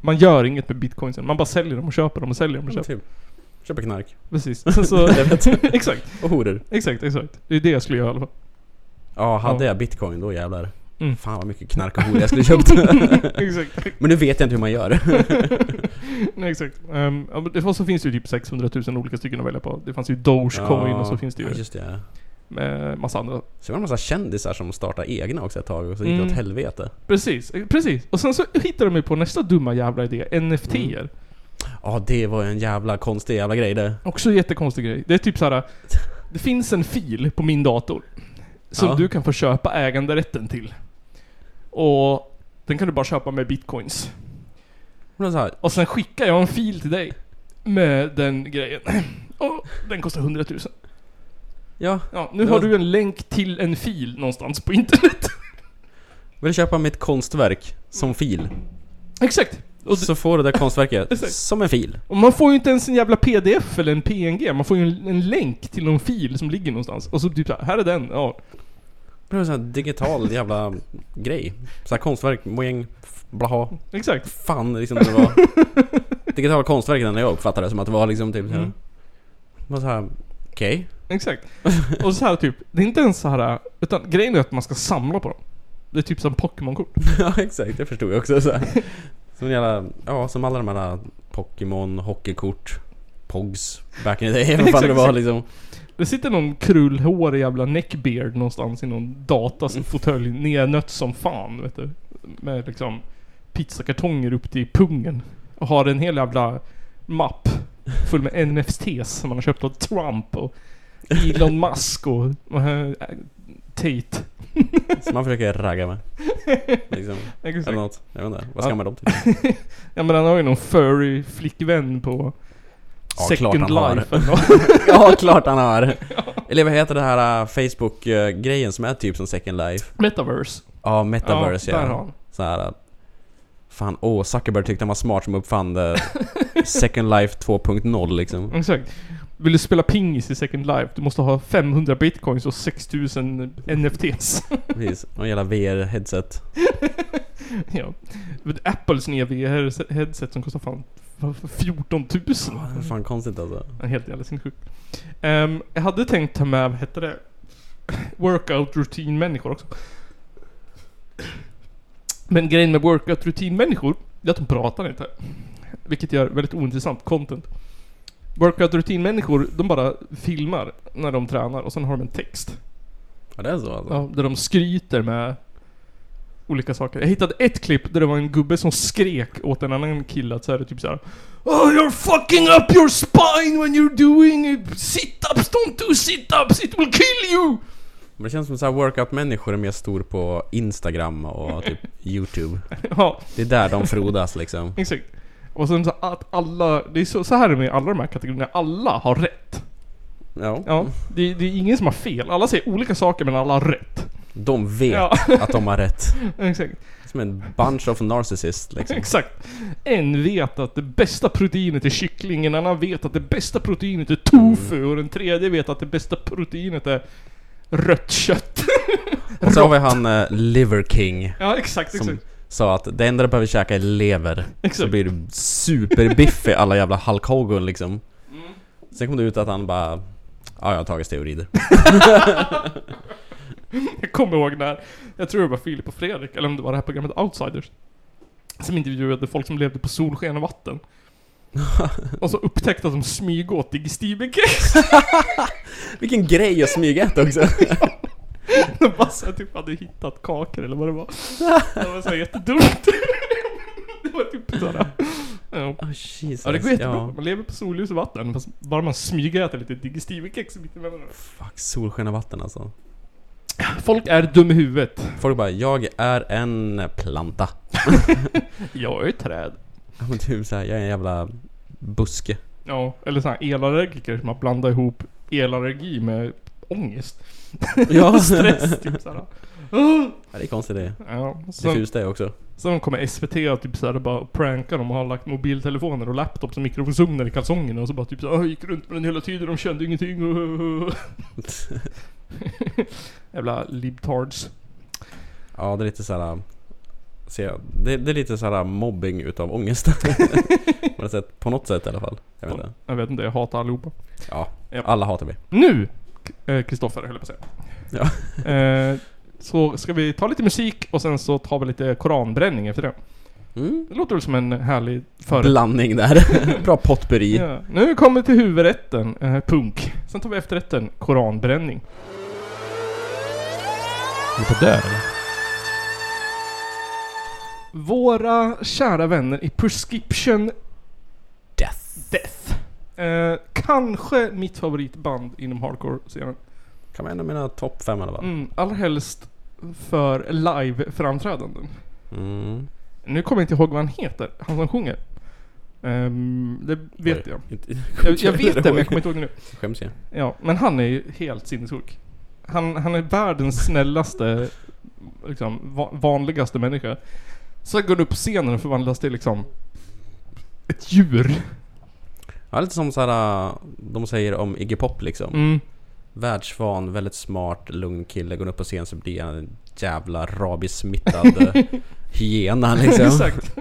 Speaker 1: man gör inget med bitcoinsen, man bara säljer dem och köper dem och säljer dem och
Speaker 2: Ja,
Speaker 1: köper.
Speaker 2: typ. Köper knark.
Speaker 1: Precis. Sen så,
Speaker 2: Jag vet.
Speaker 1: exakt.
Speaker 2: Och horor.
Speaker 1: Exakt, exakt. Det är det jag skulle göra i alla fall.
Speaker 2: Ja, hade
Speaker 1: Ja.
Speaker 2: jag bitcoin då jävlar.
Speaker 1: Mm.
Speaker 2: Fan vad mycket knark och horor jag skulle köpt.
Speaker 1: Exakt.
Speaker 2: Men nu vet jag inte hur man gör.
Speaker 1: Nej exakt. Ehm, ja, men det, och så finns det ju typ 600 000 olika stycken att välja på. Det fanns ju Dogecoin
Speaker 2: Ja,
Speaker 1: och så finns det ju
Speaker 2: ja, just det.
Speaker 1: Med massa andra.
Speaker 2: Sen var det en massa kändisar som startade egna också ett tag och så gick det
Speaker 1: Mm.
Speaker 2: åt helvete.
Speaker 1: Precis, eh, precis. Och sen så hittar de ju på nästa dumma jävla idé, NFTer.
Speaker 2: Mm. Ja, det var en jävla konstig jävla grej det.
Speaker 1: Också en jättekonstig grej. Det är typ så här. Det finns en fil på min dator. Som
Speaker 2: Ja.
Speaker 1: du kan få köpa äganderätten till. Och den kan du bara köpa med bitcoins. Och sen skickar jag en fil till dig. Med den grejen. Och den kostar 100 000.
Speaker 2: Ja.
Speaker 1: ja nu
Speaker 2: det
Speaker 1: har
Speaker 2: var-
Speaker 1: du en länk till en fil någonstans på internet.
Speaker 2: Vill du köpa mitt konstverk som fil?
Speaker 1: Exakt! Och
Speaker 2: så får du det konstverket
Speaker 1: Exakt.
Speaker 2: som en fil.
Speaker 1: Och man får ju inte ens en jävla pdf eller en png. Man får ju en, en länk till någon fil som ligger någonstans. Och så typ så här, här är den. Ja.
Speaker 2: Det var en sån här digital jävla grej. Så här konstverk, mojäng, f- blaha.
Speaker 1: Exakt.
Speaker 2: Fan liksom det var... digitala konstverk när jag uppfattade det som att det var liksom typ så här.
Speaker 1: Mm.
Speaker 2: Det var så här, okej.
Speaker 1: Exakt. Och så här typ, det är inte ens så här utan grejen är att man ska samla på dem. Det är typ som Pokémon-kort.
Speaker 2: ja exakt, det förstod jag också. Så här. Som en jävla, ja som alla de här Pokémon, hockeykort, Pogs, back in the day. Vad fan det
Speaker 1: Exakt,
Speaker 2: var
Speaker 1: exakt.
Speaker 2: liksom.
Speaker 1: Det sitter någon
Speaker 2: Mm.
Speaker 1: krullhårig jävla neckbeard någonstans i någon datafåtölj, nednött som fan vet du. med liksom pizzakartonger upp till pungen. Och har en hel jävla mapp full med NFTs som man har köpt av Trump och Elon Musk och eh, Tate.
Speaker 2: Som man försöker ragga med. Liksom.
Speaker 1: Exakt.
Speaker 2: Eller något. Jag vet inte. Vad ska
Speaker 1: Ja.
Speaker 2: man med dem till?
Speaker 1: ja men han har ju någon furry flickvän på
Speaker 2: Ja,
Speaker 1: Second
Speaker 2: klart han
Speaker 1: Life
Speaker 2: har.
Speaker 1: eller något.
Speaker 2: ja, klart han har. Eller vad heter det här äh, Facebook-grejen som är typ som Second Life?
Speaker 1: Metaverse.
Speaker 2: Ja, Metaverse
Speaker 1: Ja,
Speaker 2: ja.
Speaker 1: där har han.
Speaker 2: Så här, att- fan, åh, Zuckerberg tyckte han var smart som uppfann det. Second Life 2.0 liksom.
Speaker 1: Exakt. Vill du spela pingis i Second Life? Du måste ha 500 bitcoins och 6000 NFTs.
Speaker 2: Precis. Och jävla VR-headset.
Speaker 1: ja. Men Apples nya VR-headset som kostar fan f- f- 14 000.
Speaker 2: Det är fan konstigt alltså.
Speaker 1: Ja, Helt jävla sinnessjukt. Ehm, jag hade tänkt ta med, vad hette det? Workout rutin människor också. Men grejen med workout rutin människor, det är att de pratar inte. Vilket gör väldigt ointressant content. Workout rutin människor, de bara filmar när de tränar och sen har de en text.
Speaker 2: Ja, det är så alltså.
Speaker 1: Ja, där de skryter med olika saker. Jag hittade ett klipp där det var en gubbe som skrek åt en annan kille att så här, typ så här. Oh, you're fucking up your spine when you're doing sit-ups, don't do sit-ups, it will kill you!
Speaker 2: Men det känns som så här workout-människor är mer stor på Instagram och typ YouTube.
Speaker 1: Ja.
Speaker 2: Det är där de frodas liksom.
Speaker 1: Exakt. Och sen så att alla, det är så, så här är det med alla de här kategorierna, alla har rätt.
Speaker 2: Ja.
Speaker 1: Ja, det, det är ingen som har fel. Alla säger olika saker men alla har rätt.
Speaker 2: De vet
Speaker 1: Ja.
Speaker 2: att de har rätt.
Speaker 1: Exakt.
Speaker 2: Som en bunch of narcissists liksom.
Speaker 1: Exakt. En vet att det bästa proteinet är kyckling, en annan vet att det bästa proteinet är tofu och den tredje vet att det bästa proteinet är rött kött.
Speaker 2: Och så har vi han eh, Liver King.
Speaker 1: Ja, exakt,
Speaker 2: Som
Speaker 1: exakt.
Speaker 2: sa att det enda du behöver käka är lever. Så
Speaker 1: Exakt.
Speaker 2: blir du superbiffig alla jävla Hulk Hogan liksom.
Speaker 1: Mm.
Speaker 2: Sen kom det ut att han bara... Ja, jag har tagit steroider.
Speaker 1: Jag kommer ihåg när, jag tror det var Filip och Fredrik, eller om det var det här programmet Outsiders. Som intervjuade folk som levde på solsken och vatten. och så upptäckte att de smygåt digestivbegrepp.
Speaker 2: Vilken grej att smygäta också.
Speaker 1: De bara så här, typ hade hittat kakor eller vad det var. Det var så här jättedumt. det var typ såhär. Ja.
Speaker 2: Jesus,
Speaker 1: ja det går jättebra.
Speaker 2: ja.
Speaker 1: Man lever på solljus och vatten. Fast bara man smygäter lite digestivekex mitt emellan.
Speaker 2: Fuck, solsken och vatten alltså.
Speaker 1: Folk är dum i huvudet.
Speaker 2: Folk bara, jag är en planta.
Speaker 1: jag är ett träd.
Speaker 2: Ja, men typ såhär, jag är en jävla buske.
Speaker 1: Ja, eller såhär elallergiker som har blandat ihop elallergi med ångest.
Speaker 2: Ja.
Speaker 1: Stress typ såhär. Ja,
Speaker 2: Ja, det är konstigt det.
Speaker 1: Ja, sen-
Speaker 2: Diffust det också.
Speaker 1: Sen kommer SVT och typ såhär bara pranka dem och har lagt mobiltelefoner och laptops och mikrofoner i kalsongerna och så bara typ såhär "Ah, gick runt med den hela tiden de kände ingenting och... Jävla libtards.
Speaker 2: Ja, det är lite såhär... ser jag- Det, det är lite såhär mobbing utav ångest. på, något sätt, på något sätt i alla fall. Jag vet inte.
Speaker 1: Jag vet inte, jag hatar allihopa.
Speaker 2: Ja,
Speaker 1: Japp.
Speaker 2: alla hatar mig.
Speaker 1: Nu! eh, Kristoffer höll jag på att säga. Eh, så ska vi ta lite musik och sen så tar vi lite koranbränning efter det. Det låter väl som en härlig före...
Speaker 2: Blandning där. Bra potpurri.
Speaker 1: Ja. Nu kommer vi till huvudrätten, eh, punk. Sen tar vi efterrätten, koranbränning.
Speaker 16: Är på död eller?
Speaker 1: Våra kära vänner i Prescription
Speaker 2: Death.
Speaker 1: Death. Eh, kanske mitt favoritband inom hardcore-scenen.
Speaker 2: Kan vara en av mina topp fem i alla fall.
Speaker 1: Mm, allra helst för live-framträdanden.
Speaker 2: Mm.
Speaker 1: Nu kommer jag inte ihåg vad han heter, han som sjunger. Ehm, det vet
Speaker 2: Oj,
Speaker 1: jag.
Speaker 2: inte-
Speaker 1: jag. Jag vet det men jag kommer inte ihåg nu.
Speaker 2: Skäms jag.
Speaker 1: Ja, men han är ju helt sinnessjuk. Han, han är världens snällaste, liksom, va- vanligaste människa. Så går han upp på scenen och förvandlas till liksom ett djur.
Speaker 2: Ja, lite som såhär, de säger om Iggy Pop liksom.
Speaker 1: Mm.
Speaker 2: Världsvan, väldigt smart, lugn kille. Går upp på scen så blir han en jävla rabiessmittad eh, hyena liksom.
Speaker 1: Exakt.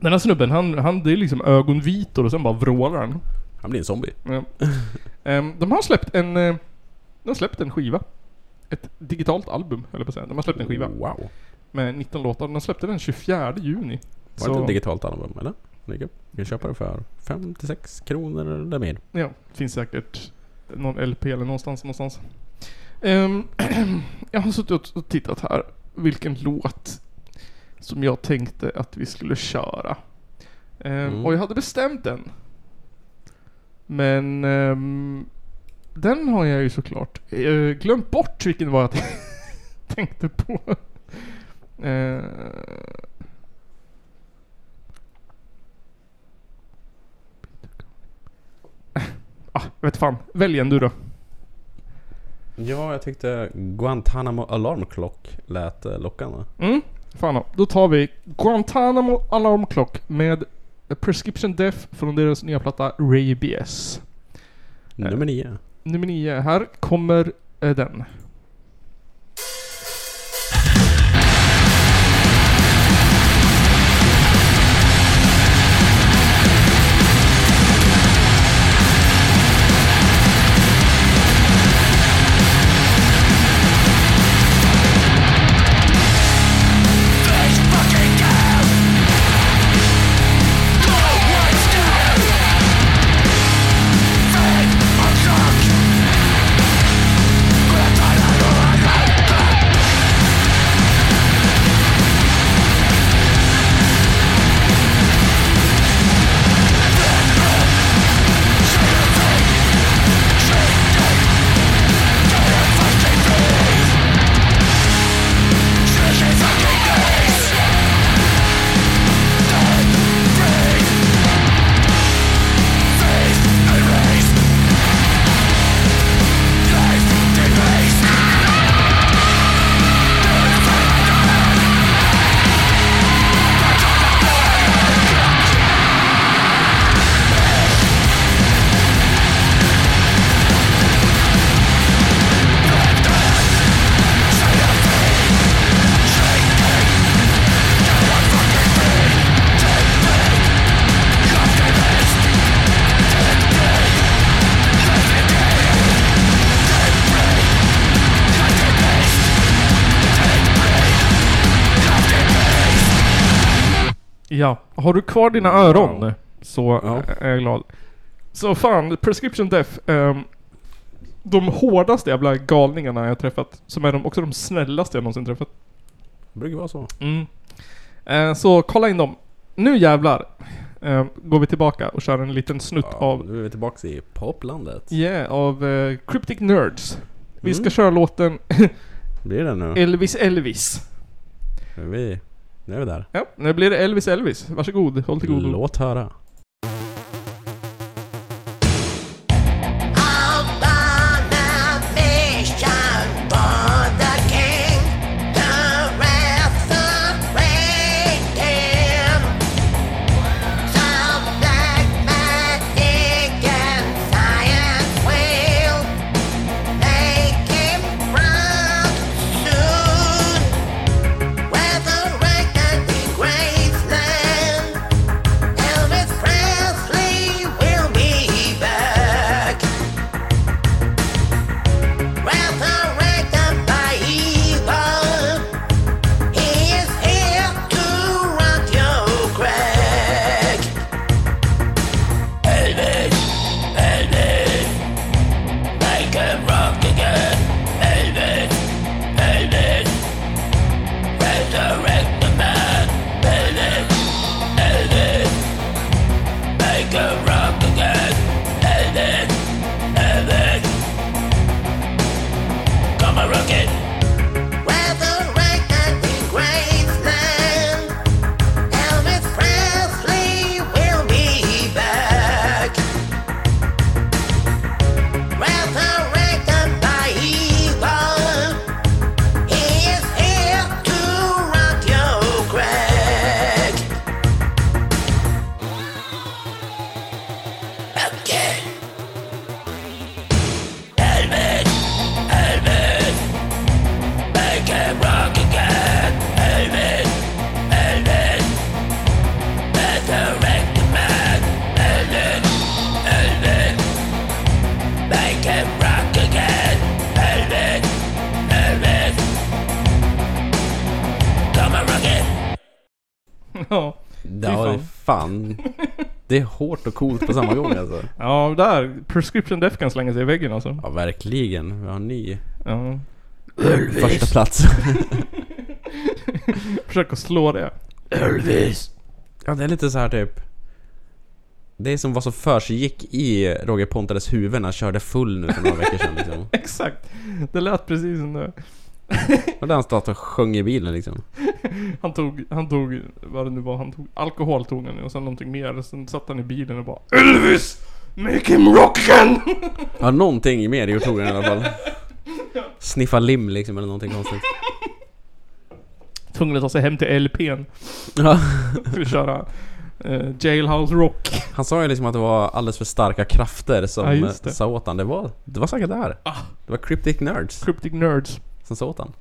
Speaker 1: Den här snubben, han, han det är liksom ögonvitor och sen bara vrålar han.
Speaker 2: Han blir en zombie.
Speaker 1: Ja. Ehm, de har släppt en... eh, De har släppt en skiva. Ett digitalt album, höll jag på att säga. De har släppt en skiva.
Speaker 2: Wow.
Speaker 1: Med 19 låtar. De släppte den 24 juni.
Speaker 2: Var det inte ett digitalt album eller? Du kan köpa det för 56 kronor eller mer.
Speaker 1: Ja, finns säkert någon LP eller någonstans, någonstans. Ehm, jag har suttit och- och tittat här vilken låt som jag tänkte att vi skulle köra. Ehm,
Speaker 3: Mm.
Speaker 1: Och jag hade bestämt den. Men ehm, den har jag ju såklart eh, glömt bort vilken var jag tänkte på. Ehm, ah, vet fan. Välj en du då.
Speaker 2: Ja, jag tyckte Guantanamo Alarm Clock lät eh, lockande.
Speaker 1: Mm, fan då. Då tar vi Guantanamo Alarm Clock med A Prescription Death från deras nya platta Rabies.
Speaker 2: Nummer nio.
Speaker 1: Nummer nio. Här kommer eh, den. Ja, har du kvar dina öron så eh, är jag glad. Så fan, Prescription Death. ehm, de hårdaste jävla galningarna jag träffat, som är de, också de snällaste jag någonsin träffat.
Speaker 2: Brukar vara så.
Speaker 1: Mm. Eh, så kolla in dem. Nu jävlar eh, går vi tillbaka och kör en liten snutt av...
Speaker 2: Nu är vi tillbaka i poplandet.
Speaker 1: Yeah, av eh, Cryptic Nerds. Vi ska köra låten
Speaker 2: Blir det nu?
Speaker 1: Elvis Elvis.
Speaker 2: Nu är vi, nu är vi där.
Speaker 1: Ja, nu blir det Elvis Elvis. Varsågod, håll till godo.
Speaker 2: Låt höra.
Speaker 3: Elvis Presley will be back. Resurrected by evil, he is here to rock your crack. Elvis, Elvis, make him rock again. Elvis, Elvis, resurrect the man. Elvis, Elvis, make him rock again. Elvis, Elvis, come and rock it. Resurrected in Graceland. Elvis Presley will be back. Resurrected by evil, he is here to rock your crack. Again. Elvis, Elvis, make him rock again. Elvis, Elvis, resurrect the man. Elvis, Elvis, make him rock again. Elvis, Elvis, come and rock it.
Speaker 1: Ja, fy
Speaker 2: Ja, det är fan. Det är hårt och coolt på samma gång alltså.
Speaker 1: Ja, där. Prescription Death kan slänga sig i väggen alltså.
Speaker 2: Ja, verkligen. Vi har en ny
Speaker 1: Ja.
Speaker 2: Elvis. Första plats.
Speaker 1: Försök att slå det.
Speaker 2: Elvis. Ja, det är lite så här typ... Det är som vad som försiggick i Roger Pontares huvud när han körde full nu för några veckor sedan liksom.
Speaker 1: Exakt. Det lät precis som det.
Speaker 2: Och där han stod och sjöng i bilen liksom.
Speaker 1: Han tog, han tog, vad det nu var, han tog alkohol tog han ju och sen någonting mer. Sen satt han i bilen och bara Elvis! Make him rock again!
Speaker 2: Ja, någonting mer gjorde han i alla fall. Sniffa lim liksom eller någonting konstigt.
Speaker 1: Tvungen att ta sig hem till LP'n.
Speaker 2: Ja.
Speaker 1: Skulle köra eh, Jailhouse Rock.
Speaker 2: Han sa ju liksom att det var alldeles för starka krafter
Speaker 1: Ja,
Speaker 2: som
Speaker 1: just det. Ah.
Speaker 2: sa åt han. Det var, det var säkert där. Det var Cryptic Nerds.
Speaker 1: Cryptic Nerds.
Speaker 2: Som sa åt han.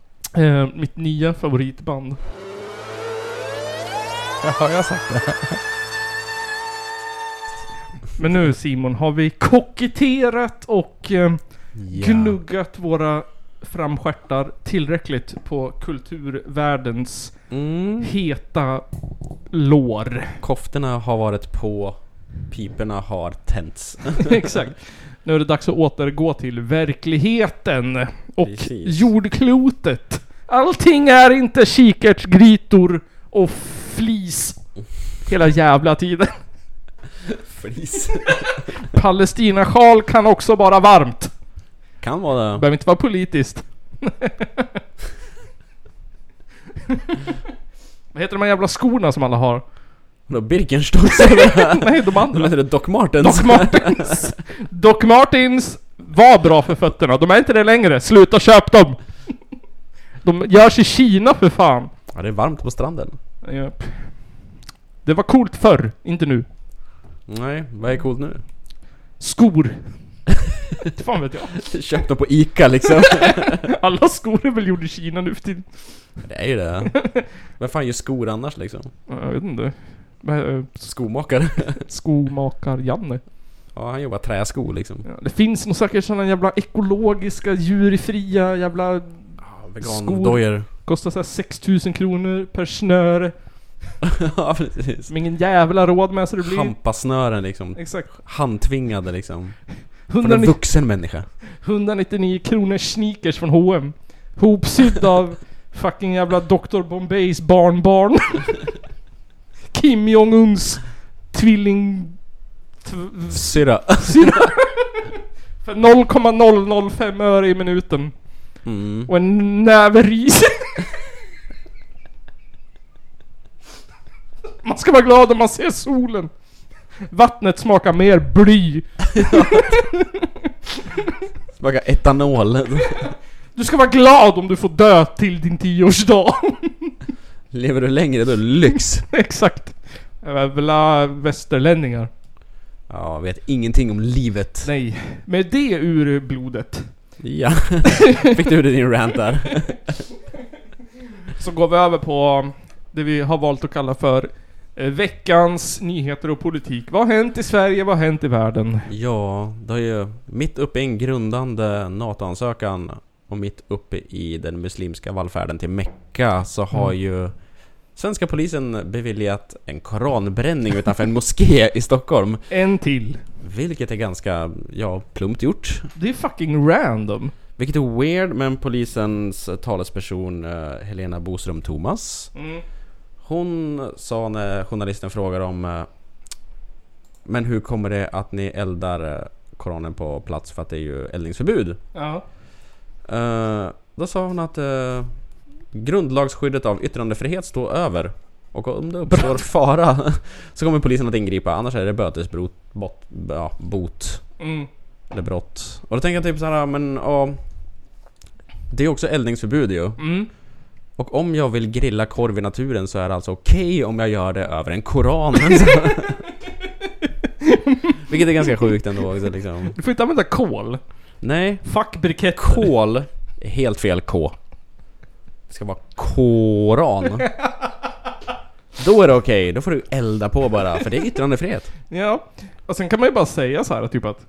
Speaker 1: Eh, mitt nya favoritband.
Speaker 2: Har jag sagt det?
Speaker 1: Men nu Simon har vi koketterat och eh,
Speaker 2: Ja.
Speaker 1: gnuggat våra framstjärtar tillräckligt på kulturvärldens
Speaker 2: Mm.
Speaker 1: heta lår.
Speaker 2: Koftorna har varit på, piporna har tänts.
Speaker 1: Exakt. Nu är det dags att återgå till verkligheten och
Speaker 2: Precis.
Speaker 1: jordklotet. Allting är inte kikärtsgrytor och flis hela jävla tiden.
Speaker 2: Flis.
Speaker 1: Palestinasjal kan också vara varmt.
Speaker 2: Kan vara det.
Speaker 1: Behöver inte vara politiskt. Vad heter de här jävla skorna som alla har?
Speaker 2: Vadå, Birkenstocks?
Speaker 1: Nej, de andra.
Speaker 2: De heter Doc Martens.
Speaker 1: Doc Martens. Doc Martens var bra för fötterna. De är inte det längre. Sluta köp dem! De görs i Kina för fan.
Speaker 2: Ja, det är varmt på stranden.
Speaker 1: Japp. Det var coolt förr, inte nu.
Speaker 2: Nej, vad är coolt nu?
Speaker 1: Skor. Inte fan vet jag.
Speaker 2: Köp dem på Ica liksom.
Speaker 1: Alla skor är väl gjorda i Kina nu för tiden.
Speaker 2: Det är ju det. Vem fan gör skor annars liksom?
Speaker 1: Jag vet inte. Men, eh,
Speaker 2: Skomakare.
Speaker 1: Skomakar-Janne.
Speaker 2: Ja, han jobbar träskor liksom.
Speaker 1: Det finns nog säkert sådana jävla ekologiska, djurfria jävla
Speaker 2: Vegandojor.
Speaker 1: Kostar såhär 6000 kronor per snöre.
Speaker 2: ja, precis.
Speaker 1: Som ingen jävla råd med så det blir.
Speaker 2: Hampasnören liksom.
Speaker 1: Exakt.
Speaker 2: Handtvingade liksom. Från en
Speaker 1: 190
Speaker 2: vuxen människa.
Speaker 1: 199 kronor sneakers från H&M Hopsydd av fucking jävla Dr. Bombays barnbarn. Kim Jong-Uns tvilling... Tv-
Speaker 2: Syrra.
Speaker 1: syrra. För 0,005 öre i minuten.
Speaker 2: Mm.
Speaker 1: Och en näve ris. Man ska vara glad om man ser solen. Vattnet smakar mer bly.
Speaker 2: Smakar etanol.
Speaker 1: Du ska vara glad om du får dö till din tioårsdag.
Speaker 2: Lever du längre då är det lyx.
Speaker 1: Exakt. Jävla västerlänningar.
Speaker 2: Ja, vet ingenting om livet.
Speaker 1: Nej. Med det ur blodet.
Speaker 2: Ja. Fick du ur din rant där?
Speaker 1: Så går vi över på det vi har valt att kalla för eh, veckans nyheter och politik. Vad har hänt i Sverige? Vad har hänt i världen?
Speaker 2: Ja, det är ju mitt uppe i en grundande NATO-ansökan och mitt uppe i den muslimska vallfärden till Mecka så har
Speaker 1: Mm.
Speaker 2: ju svenska polisen beviljat en koranbränning utanför en moské i Stockholm.
Speaker 1: En till.
Speaker 2: Vilket är ganska, ja, plumpt gjort.
Speaker 1: Det är fucking random.
Speaker 2: Vilket är weird, men polisens talesperson eh, Helena Boström Thomas
Speaker 1: Mm.
Speaker 2: Hon sa när journalisten frågade om eh, Men hur kommer det att ni eldar eh, Koranen på plats för att det är ju eldningsförbud?
Speaker 1: Ja.
Speaker 2: Eh, Då sa hon att eh, Grundlagsskyddet av yttrandefrihet står över Och om det uppstår fara Så kommer polisen att ingripa annars är det bötesbrot bot, ja, bot
Speaker 1: Mm.
Speaker 2: Eller brott Och då tänker jag typ såhär men ja Det är också eldningsförbud ju
Speaker 1: Mm.
Speaker 2: och om jag vill grilla korv i naturen så är det alltså okej om jag gör det över en koran. Vilket är ganska sjukt ändå också liksom.
Speaker 1: Du får inte använda kol.
Speaker 2: Nej.
Speaker 1: Fuck briketter.
Speaker 2: Kol. är Helt fel K. Det ska vara koran. Då är det okej. Då får du elda på bara. För det är yttrandefrihet.
Speaker 1: Ja. Och sen kan man ju bara säga så här typ att...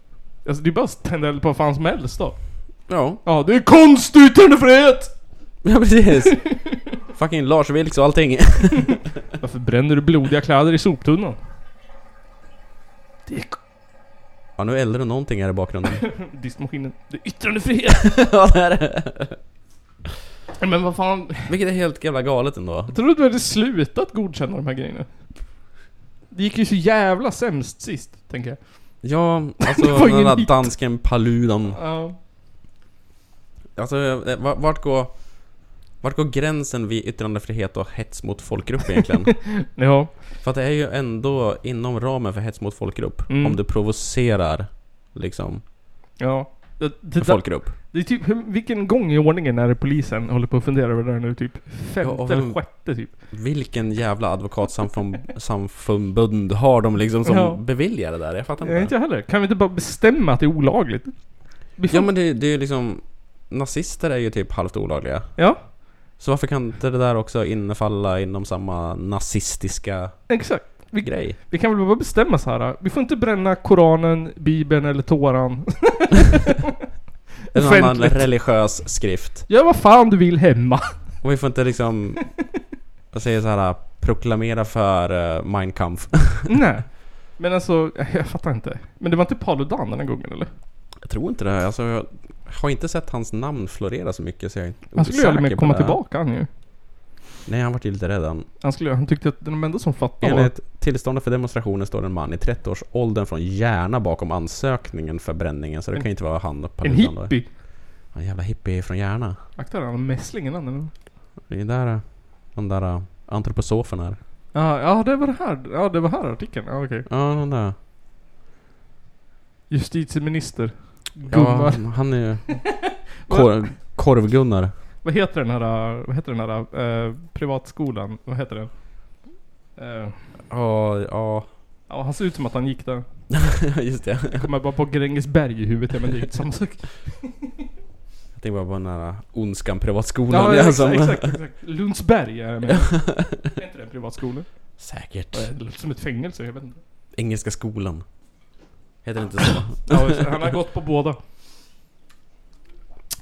Speaker 1: Alltså det är bara att tända eld på vad fan som helst då.
Speaker 2: Ja.
Speaker 1: Ja, det är konst och yttrandefrihet!
Speaker 2: Ja precis. Fucking Lars Vilks och allting.
Speaker 1: Varför bränner du blodiga kläder i soptunnan? Det är
Speaker 2: Ja, nu eldar du någonting här i bakgrunden.
Speaker 1: Diskmaskinen. Det är yttrandefrihet!
Speaker 2: ja, det är det.
Speaker 1: Men vad fan.
Speaker 2: Vilket är helt jävla galet ändå.
Speaker 1: Jag trodde du hade slutat godkänna de här grejerna. Det gick ju så jävla sämst sist, tänker jag.
Speaker 2: Ja, alltså
Speaker 1: Det var ingen
Speaker 2: den där
Speaker 1: hit.
Speaker 2: dansken Paludan.
Speaker 1: Ja.
Speaker 2: Alltså, eh, va- vart går... Vart går gränsen vid yttrandefrihet och hets mot folkgrupp egentligen?
Speaker 1: ja.
Speaker 2: För att det är ju ändå inom ramen för hets mot folkgrupp.
Speaker 1: Mm.
Speaker 2: Om du provocerar liksom
Speaker 1: Ja. Det, det,
Speaker 2: en folkgrupp.
Speaker 1: Det är typ, hur- vilken gång i ordningen är det polisen håller på att fundera över det här nu? Typ femte
Speaker 2: och
Speaker 1: eller
Speaker 2: vem-
Speaker 1: sjätte typ.
Speaker 2: Vilken jävla advokatsamfund har de liksom som
Speaker 1: Ja.
Speaker 2: beviljar det där? Jag fattar
Speaker 1: Nej,
Speaker 2: inte.
Speaker 1: inte jag heller. Kan vi inte bara bestämma att det är olagligt? Vi får-
Speaker 2: Ja men det, det är ju liksom Nazister är ju typ halvt olagliga.
Speaker 1: Ja.
Speaker 2: Så varför kan inte det där också innefalla inom samma nazistiska
Speaker 1: Exakt. Vi,
Speaker 2: grej?
Speaker 1: vi kan väl bara bestämma så här. Vi får inte bränna Koranen, Bibeln eller Toran.
Speaker 2: En annan
Speaker 1: Offentligt.
Speaker 2: religiös skrift.
Speaker 1: Gör vad fan du vill hemma.
Speaker 2: Och vi får inte liksom, jag säger så här, proklamera för uh, Mein Kampf.
Speaker 1: Nej. Men alltså, jag fattar inte. Men det var inte Paludan den här gången eller?
Speaker 2: jag tror inte det. här. Alltså, jag har inte sett hans namn florera så mycket så jag är
Speaker 1: Han skulle ju aldrig mer
Speaker 2: osäker Alltså, på
Speaker 1: komma
Speaker 2: det här.
Speaker 1: tillbaka han ju.
Speaker 2: Nej, han vart ju lite rädd han.
Speaker 1: Han, skulle, han tyckte att de enda som fattade var...
Speaker 2: Enligt tillståndet för demonstrationen står en man i 30-årsåldern från Järna bakom ansökningen för bränningen. Så det
Speaker 1: En-
Speaker 2: kan ju inte vara han. och
Speaker 1: En
Speaker 2: Paludan då.
Speaker 1: hippie.
Speaker 2: Ja, En jävla hippie från Järna.
Speaker 1: Akta dig, han har mässlingen han.
Speaker 2: Det är där eh, de där eh, antroposoferna är.
Speaker 1: Ja, ja, det var det här. Ja, det var här artikeln. Ja, okej.
Speaker 2: Ja, de där.
Speaker 1: Justitieminister.
Speaker 2: Ja,
Speaker 1: Gunnar.
Speaker 2: han är ju... Kor- Korv-Gunnar.
Speaker 1: Vad heter den här, vad heter den här eh, privatskolan? Vad heter den? Eh,
Speaker 2: Ja, ja.
Speaker 1: ja, han ser ut som att han gick där.
Speaker 2: Just det.
Speaker 1: Jag kommer bara på Grängesberg i huvudet, ja, men det är ju inte samma sak.
Speaker 2: Jag tänkte bara på den där Ondskan privatskolan.
Speaker 1: Ja,
Speaker 2: igen
Speaker 1: exakt,
Speaker 2: som-
Speaker 1: exakt, exakt. Lundsberg är jag med. Är inte det en privatskola?
Speaker 2: Säkert.
Speaker 1: Det låter som ett fängelse, jag vet inte.
Speaker 2: Engelska skolan. Heter det inte så?
Speaker 1: Ja, just det. han har gått på båda.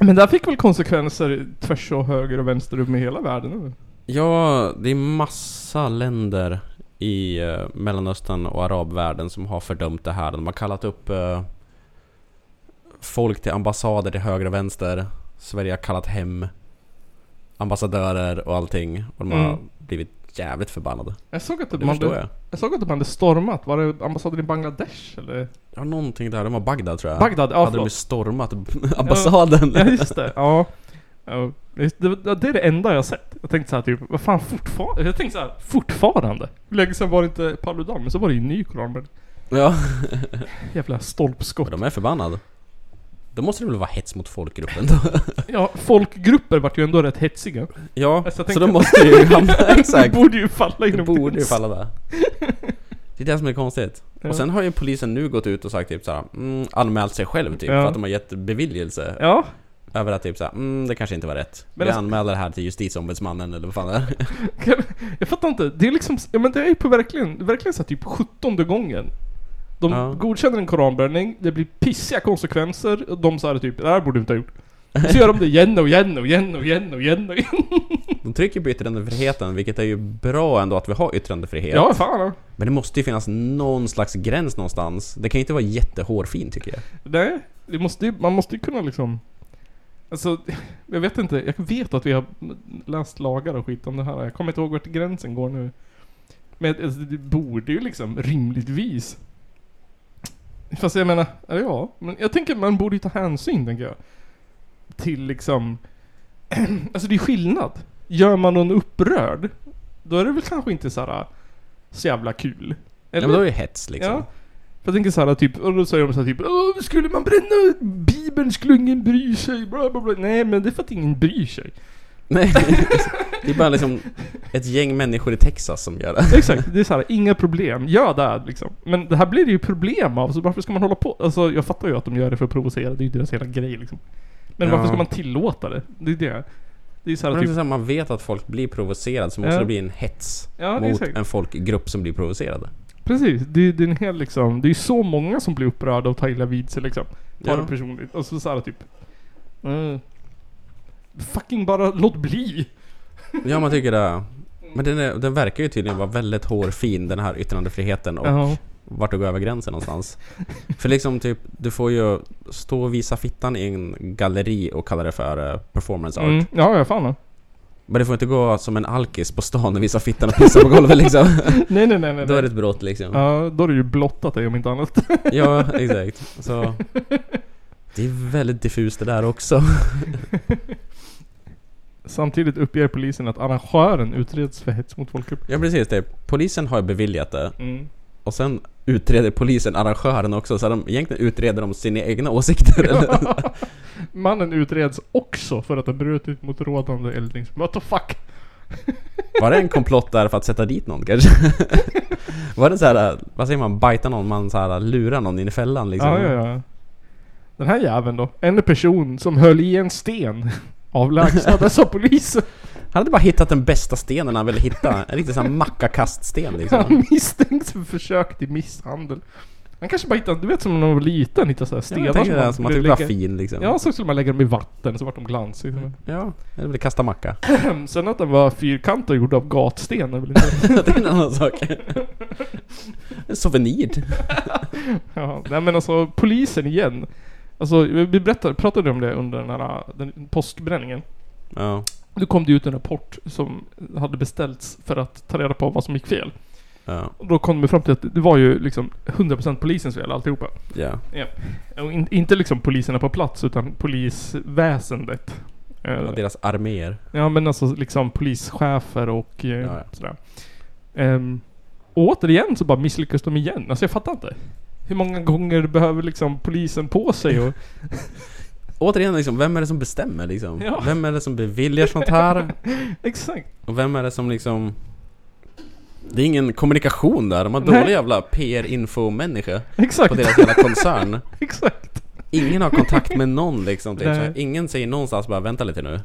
Speaker 1: Men där fick väl konsekvenser tvärs och höger och vänster upp med hela världen? eller?
Speaker 2: Ja, det är massa länder i eh, Mellanöstern och arabvärlden som har fördömt det här. De har kallat upp eh, folk till ambassader till höger och vänster. Sverige har kallat hem ambassadörer och allting. Och de har
Speaker 1: Mm.
Speaker 2: blivit jävligt förbannade.
Speaker 1: Jag såg att
Speaker 2: Det
Speaker 1: de hade,
Speaker 2: förstår jag.
Speaker 1: jag. såg att de hade stormat. Var det ambassaden i Bangladesh eller?
Speaker 2: Ja, någonting där. De var Bagdad tror jag.
Speaker 1: Bagdad, ja,
Speaker 2: Hade de
Speaker 1: förlåt.
Speaker 2: ju stormat ambassaden.
Speaker 1: Ja, just det. Ja. ja just det, Ja, det är det enda jag har sett. Jag tänkte såhär typ, vad fan fortfarande? Jag tänkte såhär, fortfarande? Hur länge sedan var det inte Paludan? Men så var det ju en ny koranbränning.
Speaker 2: Ja.
Speaker 1: Jävla stolpskott.
Speaker 2: De är förbannade. Då måste det väl vara hets mot folkgruppen då?
Speaker 1: Ja, folkgrupper vart ju ändå rätt hetsiga.
Speaker 2: Ja,
Speaker 1: Alltså, jag
Speaker 2: så
Speaker 1: tänkte-
Speaker 2: då måste ju hamna... Exakt.
Speaker 1: Det borde ju falla
Speaker 2: Det
Speaker 1: inom
Speaker 2: borde ju
Speaker 1: gränsen.
Speaker 2: falla där. Det är det som är konstigt.
Speaker 1: Ja.
Speaker 2: Och sen har ju polisen nu gått ut och sagt typ såhär, mm, anmält sig själv typ
Speaker 1: Ja.
Speaker 2: för att de har gett beviljelse.
Speaker 1: Ja.
Speaker 2: Över att typ såhär, mm, det kanske inte var rätt.
Speaker 1: Men
Speaker 2: Vi
Speaker 1: alltså-
Speaker 2: anmäler det här till justitieombudsmannen eller vad fan det är.
Speaker 1: Jag fattar inte. Det är liksom, ja men det är ju på verkligen, verkligen så här typ 17 gången. De
Speaker 2: Ja.
Speaker 1: godkänner en koranbränning, det blir pissiga konsekvenser. och De sa det typ, det här borde du inte ha gjort. Så gör de det igen och igen och igen och igen och igen och igen.
Speaker 2: De trycker på yttrandefriheten, vilket är ju bra ändå att vi har yttrandefrihet.
Speaker 1: Ja, fan. ja.
Speaker 2: Men det måste ju finnas någon slags gräns någonstans. Det kan ju inte vara jättehårfint tycker jag.
Speaker 1: Nej, det måste, ju- man måste ju kunna liksom... Alltså, jag vet inte. Jag vet att vi har läst lagar och skit om det här. Jag kommer inte ihåg vart gränsen går nu. Men alltså, det borde ju liksom rimligtvis... Fast jag menar, eller ja. Men jag tänker man borde ju ta hänsyn, tänker jag. Till liksom... alltså det är skillnad. Gör man någon upprörd, då är det väl kanske inte så här äh, så jävla kul.
Speaker 2: Ja, men då är det hets liksom.
Speaker 1: Ja. Jag tänker såhär typ, och då säger de såhär typ Åh, skulle man bränna Bibeln skulle ingen bry sig, bla bla bla. Nej men det är för att ingen bryr sig.
Speaker 2: Nej. Det är bara liksom ett gäng människor i Texas som gör det.
Speaker 1: Exakt, det är såhär, inga problem, gör det här, liksom. Men det här blir det ju problem av, så varför ska man hålla på? Alltså jag fattar ju att de gör det för att provocera, det är ju deras hela grej liksom. Men
Speaker 2: Ja.
Speaker 1: varför ska man tillåta det? Det är det. Det är såhär
Speaker 2: Men
Speaker 1: typ,
Speaker 2: typ, så här, man vet att folk blir provocerade så måste
Speaker 1: Ja.
Speaker 2: det bli en hets
Speaker 1: Ja,
Speaker 2: mot
Speaker 1: exakt.
Speaker 2: en folkgrupp som blir provocerade.
Speaker 1: precis. Det är, det är en hel liksom, det är ju så många som blir upprörda och tar illa vid sig liksom. Tar
Speaker 2: Ja.
Speaker 1: det personligt. Och så såhär typ, mm, fucking bara låt bli.
Speaker 2: Ja, man tycker det. Men den, är, den verkar ju tydligen vara väldigt hårfin den här yttrandefriheten och
Speaker 1: Ja.
Speaker 2: vart du går över gränsen någonstans. för liksom typ, du får ju stå och visa fittan i en galleri och kalla det för eh, performance art.
Speaker 1: Mm. Ja, ja fan.
Speaker 2: Men du får inte gå som en alkis på stan och visa fittan och pissa på golvet liksom.
Speaker 1: Nej, nej, nej, nej.
Speaker 2: Då är det ett brott liksom.
Speaker 1: Ja, då har du ju blottat dig om inte annat.
Speaker 2: Ja, exakt. Så det är väldigt diffust det där också.
Speaker 1: Samtidigt uppger polisen att arrangören utreds för hets mot folkgrupp.
Speaker 2: Ja precis, det. polisen har ju beviljat det.
Speaker 1: Mm.
Speaker 2: Och sen utreder polisen arrangören också, så de egentligen utreder de sina egna åsikter. eller?
Speaker 1: Mannen utreds också för att ha brutit mot rådande eldnings... What the fuck?
Speaker 2: Var det en komplott där för att sätta dit någon kanske? Var det så här, vad säger man, bajta någon, man så här, lurar någon in i fällan liksom?
Speaker 1: Ja, ja, ja. Den här jäveln då. En person som höll i en sten avlägsnades av polisen.
Speaker 2: Han hade bara hittat den bästa stenen han ville hitta. En riktig sån här mackakaststen liksom.
Speaker 1: Han misstänks för försök till misshandel. Han kanske bara hittade, du vet som när man var liten hittade sådär stenar
Speaker 2: jag tänker det, som man
Speaker 1: skulle
Speaker 2: typ var
Speaker 1: lägga-
Speaker 2: fin, liksom.
Speaker 1: Ja, så skulle man lägga dem i vatten så vart de glansiga.
Speaker 2: Ja, eller ville kasta macka.
Speaker 1: Sen att den var fyrkantig och gjord av gatsten är väl inte...
Speaker 2: det är en annan sak. En souvenir.
Speaker 1: ja, nej men alltså polisen igen. Alltså vi berättade, pratade om det under den här den, påskbränningen.
Speaker 2: Ja.
Speaker 1: Då kom det ut en rapport som hade beställts för att ta reda på vad som gick fel.
Speaker 2: Ja.
Speaker 1: Och då kom vi fram till att det var ju liksom 100% polisens fel alltihopa.
Speaker 2: Ja.
Speaker 1: Ja. Och in, inte liksom poliserna på plats utan polisväsendet. Eh,
Speaker 2: Ja, Deras arméer.
Speaker 1: Ja men alltså liksom polischefer och eh,
Speaker 2: Ja, ja.
Speaker 1: sådär. Ehm, och återigen så bara misslyckas de igen. Alltså jag fattar inte. Hur många gånger behöver liksom polisen på sig och...
Speaker 2: Återigen liksom, vem är det som bestämmer liksom?
Speaker 1: Ja.
Speaker 2: Vem är det som beviljar sånt här?
Speaker 1: Exakt.
Speaker 2: Och vem är det som liksom... Det är ingen kommunikation där, de har
Speaker 1: Nej.
Speaker 2: dålig jävla PR-info-människa.
Speaker 1: Exakt.
Speaker 2: På deras jävla koncern.
Speaker 1: Exakt.
Speaker 2: Ingen har kontakt med någon liksom. Typ.
Speaker 1: Nej.
Speaker 2: Så här, Ingen säger någonstans bara vänta lite nu.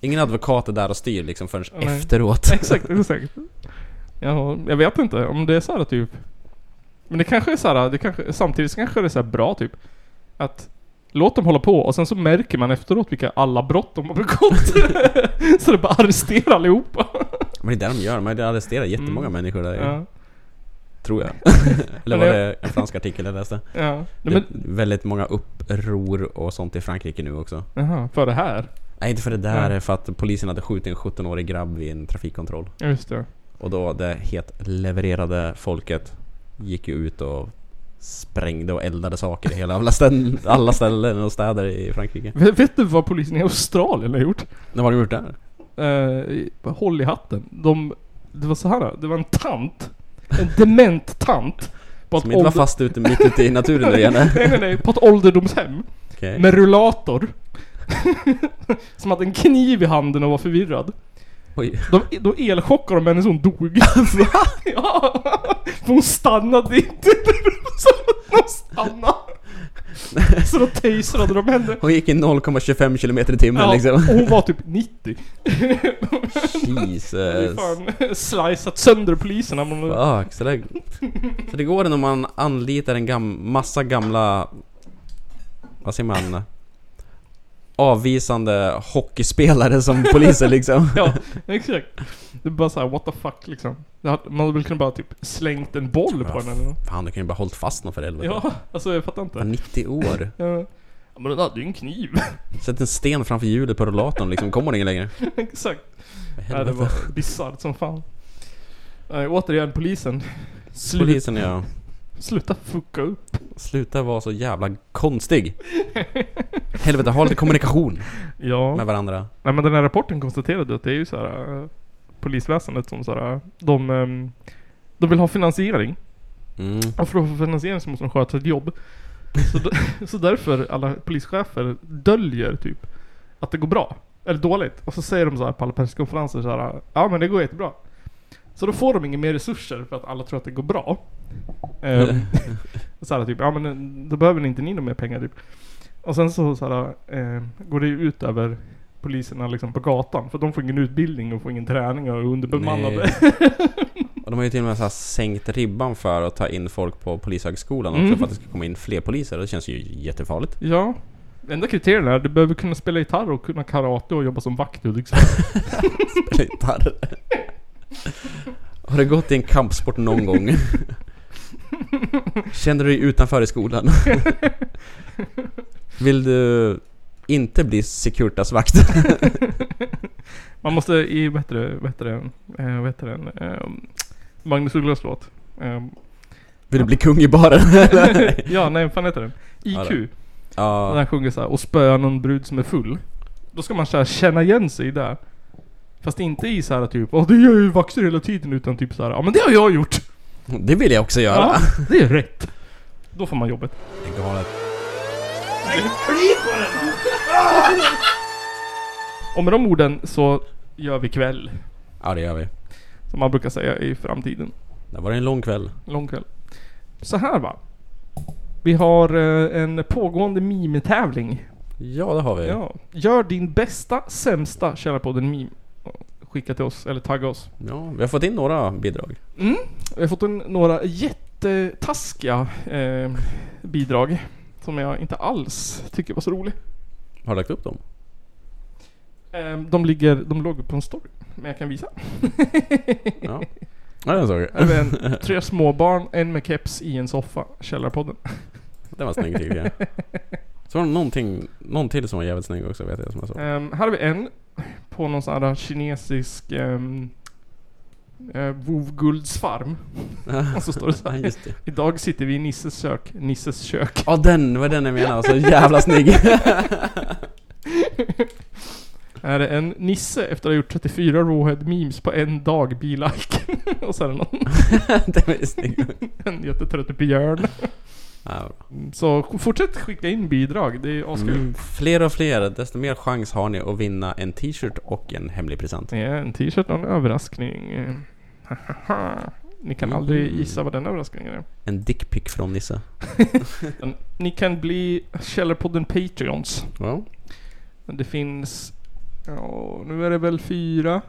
Speaker 2: Ingen advokat är där och styr liksom förrän
Speaker 1: Nej.
Speaker 2: efteråt.
Speaker 1: Exakt, exakt. Ja, jag vet inte om det är såhär typ... Men det kanske är såhär, det kanske, samtidigt så kanske det är såhär bra typ. Att låt dem hålla på och sen så märker man efteråt vilka alla brott de har begått. så det bara arresterar allihopa.
Speaker 2: Men det är det de gör, de har arresterat jättemånga
Speaker 1: Mm.
Speaker 2: människor där.
Speaker 1: Ja.
Speaker 2: Tror jag. Eller
Speaker 1: Men
Speaker 2: var
Speaker 1: jag-
Speaker 2: det en fransk artikel jag läste?
Speaker 1: Ja. Nej,
Speaker 2: Det är väldigt många uppror och sånt i Frankrike nu också.
Speaker 1: Jaha, för det här?
Speaker 2: Nej, inte för det där.
Speaker 1: Ja.
Speaker 2: För att polisen hade skjutit en 17-årig grabb vid en trafikkontroll.
Speaker 1: Ja, just det.
Speaker 2: Och då det helt levererade folket gick ju ut och sprängde och eldade saker i hela alla ställen, alla ställen och städer i Frankrike.
Speaker 1: Vet, vet du vad polisen i Australien har gjort?
Speaker 2: Vad har de gjort där?
Speaker 1: Eh, håll i hatten. De, det var så här. det var en tant. En dement tant. På
Speaker 2: Som inte var fast ute mitt ute i naturen nu igen.
Speaker 1: nej, nej, nej. På ett ålderdomshem.
Speaker 2: Okej.
Speaker 1: Med rullator. som hade en kniv i handen och var förvirrad.
Speaker 2: Oj.
Speaker 1: De, de elchockade dem hennes hon dog.
Speaker 2: Alltså.
Speaker 1: Va? ja. För hon stannade inte. Så hon stannade. Så då taserade de henne.
Speaker 2: Hon gick i 0,25 km i timmen
Speaker 1: Ja,
Speaker 2: liksom.
Speaker 1: och hon var typ 90. Det är
Speaker 2: Jesus.
Speaker 1: fan slicat sönder poliserna. men-
Speaker 2: Fuck, så, det, så det går när man anlitar en gam, massa gamla... Vad säger man? Avvisande hockeyspelare som poliser liksom.
Speaker 1: ja, exakt. Det är bara såhär, what the fuck liksom. Det hade- Man hade väl kunnat bara typ slängt en boll på den eller nåt.
Speaker 2: Fan, du kan ju bara hållit fast någon för helvete.
Speaker 1: Ja, alltså jag fattar
Speaker 2: Var
Speaker 1: inte.
Speaker 2: 90 år.
Speaker 1: Ja. Ja, Men den hade ju en kniv.
Speaker 2: Sätt en sten framför hjulet på rullatorn liksom, kommer hon ingen längre.
Speaker 1: exakt. Nej, det
Speaker 2: helvete.
Speaker 1: var bisarrt som fan. Nej, återigen polisen. Slut-
Speaker 2: Polisen ja.
Speaker 1: Sluta fucka upp.
Speaker 2: Sluta vara så jävla konstig. Helvete, ha lite kommunikation
Speaker 1: Ja.
Speaker 2: med varandra.
Speaker 1: Nej men den här rapporten konstaterade att det är ju så här eh, polisväsendet som så här, de, ehm, de vill ha finansiering.
Speaker 2: Mm.
Speaker 1: Och för att få finansiering så måste de sköta sitt jobb. Så, d- så därför alla polischefer döljer typ att det går bra. Eller dåligt. Och så säger de så här på alla presskonferenser så här, ja men det går jättebra. Så då får de inga mer resurser för att alla tror att det går bra. Ehm, så här typ, ja men då behöver ni inte ni några mer pengar typ. Och sen så, så här, eh, går det ju ut över poliserna liksom på gatan. För de får ingen utbildning och får ingen träning och är underbemannade.
Speaker 2: Och de har ju till och med så här sänkt ribban för att ta in folk på polishögskolan också
Speaker 1: Mm.
Speaker 2: för att det ska komma in fler poliser. Det känns ju jättefarligt.
Speaker 1: Ja. Enda kriterierna är att du behöver kunna spela gitarr och kunna karate och jobba som vakt liksom. i Hudiksvall.
Speaker 2: Spela gitarr. Har du gått i en kampsport någon gång? Känner du dig utanför i skolan? Vill du inte bli Securitas-vakt?
Speaker 1: Man måste i bättre, bättre, eh, vad heter den? Eh, Magnus Ugglas låt. Eh,
Speaker 2: Vill du bli kung i baren?
Speaker 1: ja, nej vad fan heter den? IQ.
Speaker 2: Ja.
Speaker 1: När han sjunger såhär, och spöa någon brud som är full. Då ska man såhär känna igen sig i det. Fast inte i såhär typ, åh det gör jag ju vaxer hela tiden. Utan typ såhär, ja men det har jag gjort.
Speaker 2: Det vill jag också göra.
Speaker 1: Ja, det är rätt. Då får man jobbet.
Speaker 2: Det är galet.
Speaker 3: Klipp på den! Ah!
Speaker 1: Och med de orden så gör vi kväll.
Speaker 2: Ja, det gör vi.
Speaker 1: Som man brukar säga i framtiden.
Speaker 2: Det var en lång kväll.
Speaker 1: Lång kväll. Så här va. Vi har eh, en pågående mimitävling.
Speaker 2: Ja, det har vi.
Speaker 1: Ja. Gör din bästa, sämsta Källarpodden-meme. Skicka till oss, eller tagga oss.
Speaker 2: Ja, vi har fått in några bidrag.
Speaker 1: Mm. Jag har fått en, några jättetaskiga eh, bidrag. Som jag inte alls tycker var så rolig.
Speaker 2: Har du lagt upp dem?
Speaker 1: Eh, de, ligger, de låg på en story. Men jag kan visa.
Speaker 2: Ja. Ja, den såg jag.
Speaker 1: Här är en, tre småbarn, en med keps i en soffa. Källarpodden.
Speaker 2: Den var snygg tycker jag. Så var det någonting, någon till som var jävligt snygg också vet jag som jag såg.
Speaker 1: Ehm, här har vi en på någon sån här kinesisk um, vovguldsfarm. Och så står det så här.
Speaker 2: Ja, just det.
Speaker 1: Idag sitter vi i Nisses kök. Nisses kök.
Speaker 2: Ja den var den jag menade, så jävla snygg.
Speaker 1: Här är en Nisse efter att ha gjort 34 rawhead memes på en dag bilike. Och så är det någon.
Speaker 2: det var snygg.
Speaker 1: en jättetrött björn.
Speaker 2: Ja,
Speaker 1: Så fortsätt skicka in bidrag, det är askul.
Speaker 2: Mm, fler och fler, desto mer chans har ni att vinna en t-shirt och en hemlig present.
Speaker 1: Ja, en t-shirt och en överraskning. Ni kan aldrig gissa vad den överraskningen är.
Speaker 2: En dickpic från Nisse.
Speaker 1: Ni kan bli Källarpodden Patreons.
Speaker 2: Ja.
Speaker 1: Det finns... Ja, nu är det väl fyra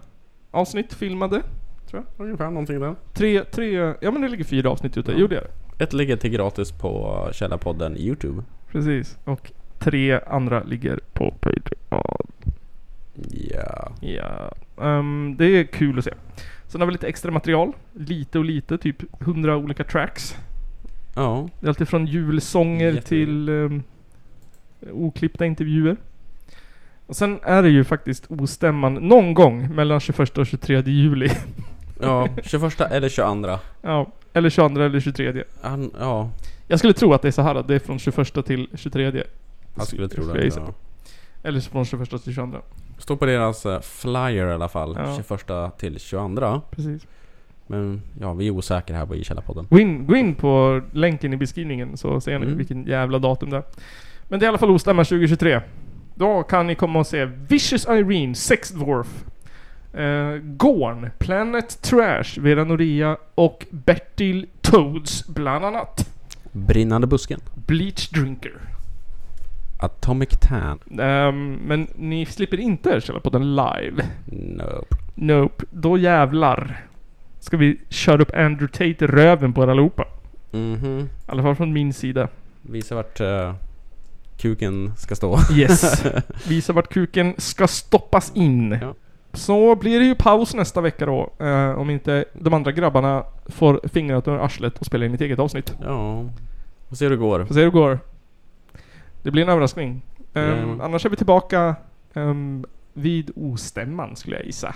Speaker 1: avsnitt filmade. Tror jag.
Speaker 2: Ungefär någonting där.
Speaker 1: Tre, tre... Ja men det ligger fyra avsnitt ute.
Speaker 2: Ja.
Speaker 1: Jo det gör det.
Speaker 2: Ett ligger till gratis på Källarpodden Youtube.
Speaker 1: Precis. Och tre andra ligger på Patreon.
Speaker 2: Ja.
Speaker 1: Ja. Ehm, det är kul att se. Sen har vi lite extra material. Lite och lite. Typ hundra olika tracks.
Speaker 2: Ja.
Speaker 1: Det är alltid från julsånger
Speaker 2: Jättekul.
Speaker 1: till ehm, oklippta intervjuer. Och sen är det ju faktiskt ostämman någon gång mellan 21 och 23 juli.
Speaker 2: Ja, 21 eller 22.
Speaker 1: ja, eller 22 eller 23.
Speaker 2: Han, ja,
Speaker 1: Jag skulle tro att det är så här att det är från 21 till 23.
Speaker 2: jag skulle tro
Speaker 1: jag
Speaker 2: det.
Speaker 1: gissa
Speaker 2: Ja.
Speaker 1: Eller från 21 till 22.
Speaker 2: Står på deras eh, flyer i alla fall.
Speaker 1: Ja.
Speaker 2: 21 till 22.
Speaker 1: Precis.
Speaker 2: Men ja, vi är osäkra här på i Källarpodden.
Speaker 1: Gå in, gå in på länken i beskrivningen så ser ni
Speaker 2: Mm.
Speaker 1: vilken jävla datum det är. Men det är i alla fall Ostämman 2023. Då kan ni komma och se Vicious Irene, Sex Dwarf, eh, Gorn, Planet Trash, Vera Noria och Bertil Toads bland annat.
Speaker 2: Brinnande busken.
Speaker 1: Bleach Drinker.
Speaker 2: Atomic Tan.
Speaker 1: Ehm, men ni slipper inte köra på den live.
Speaker 2: Nope.
Speaker 1: Nope. Då jävlar ska vi köra upp Andrew Tate i röven på er allihopa.
Speaker 2: Mhm.
Speaker 1: I alla fall från min sida.
Speaker 2: Visa vart eh, kuken ska stå.
Speaker 1: Yes. Visa vart kuken ska stoppas in. Så blir det ju paus nästa vecka då. Eh, om inte de andra grabbarna får fingret ur arslet och spelar in ett eget avsnitt.
Speaker 2: ja. Får se hur det går.
Speaker 1: Får se hur det går. Det blir en överraskning. Ehm,
Speaker 2: Jajamän.
Speaker 1: annars är vi tillbaka ehm, vid ostämman skulle jag gissa.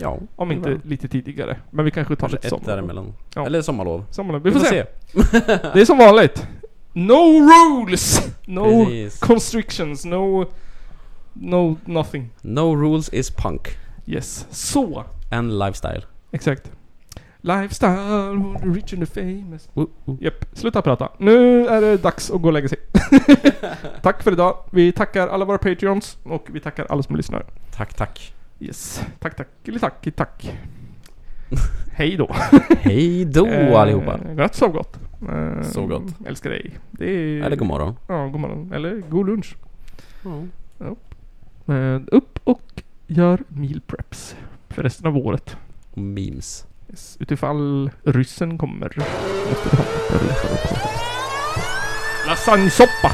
Speaker 2: Ja.
Speaker 1: Om
Speaker 2: det
Speaker 1: inte
Speaker 2: var-
Speaker 1: lite tidigare. Men vi kanske tar
Speaker 2: Kanske
Speaker 1: lite
Speaker 2: ett
Speaker 1: sommar.
Speaker 2: däremellan.
Speaker 1: Ja.
Speaker 2: Eller sommarlov.
Speaker 1: Sommarlov. Vi får se. Det är som vanligt. No rules! No
Speaker 2: Precis.
Speaker 1: constrictions. No... No nothing.
Speaker 2: No rules is punk.
Speaker 1: Yes. Så!
Speaker 2: And lifestyle.
Speaker 1: Exakt. Lifestyle, what the rich and the famous.
Speaker 2: Oh, oh.
Speaker 1: Japp, sluta prata. Nu är det dags att gå och lägga sig. Tack för idag. Vi tackar alla våra Patreons och vi tackar alla som lyssnar.
Speaker 2: Tack, tack.
Speaker 1: Yes. Tack, tack, eller tack, tack. Hej då.
Speaker 2: Hej då
Speaker 1: Eh,
Speaker 2: allihopa.
Speaker 1: Gott, sov gott. Eh,
Speaker 2: Sov gott.
Speaker 1: Älskar dig. Det är...
Speaker 2: Eller god morgon.
Speaker 1: Ja, god morgon. Eller god lunch.
Speaker 2: Ja.
Speaker 1: Ja. Eh, upp och gör meal preps för resten av året.
Speaker 2: Och memes.
Speaker 1: Yes. Utifall ryssen kommer. Lasagnesoppa!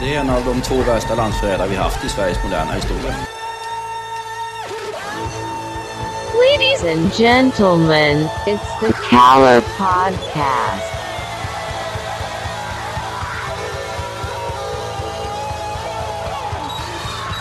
Speaker 4: Det är en av de två värsta landsförrädare vi haft i Sveriges moderna historia. Ladies and gentlemen, it's the Caller Podcast.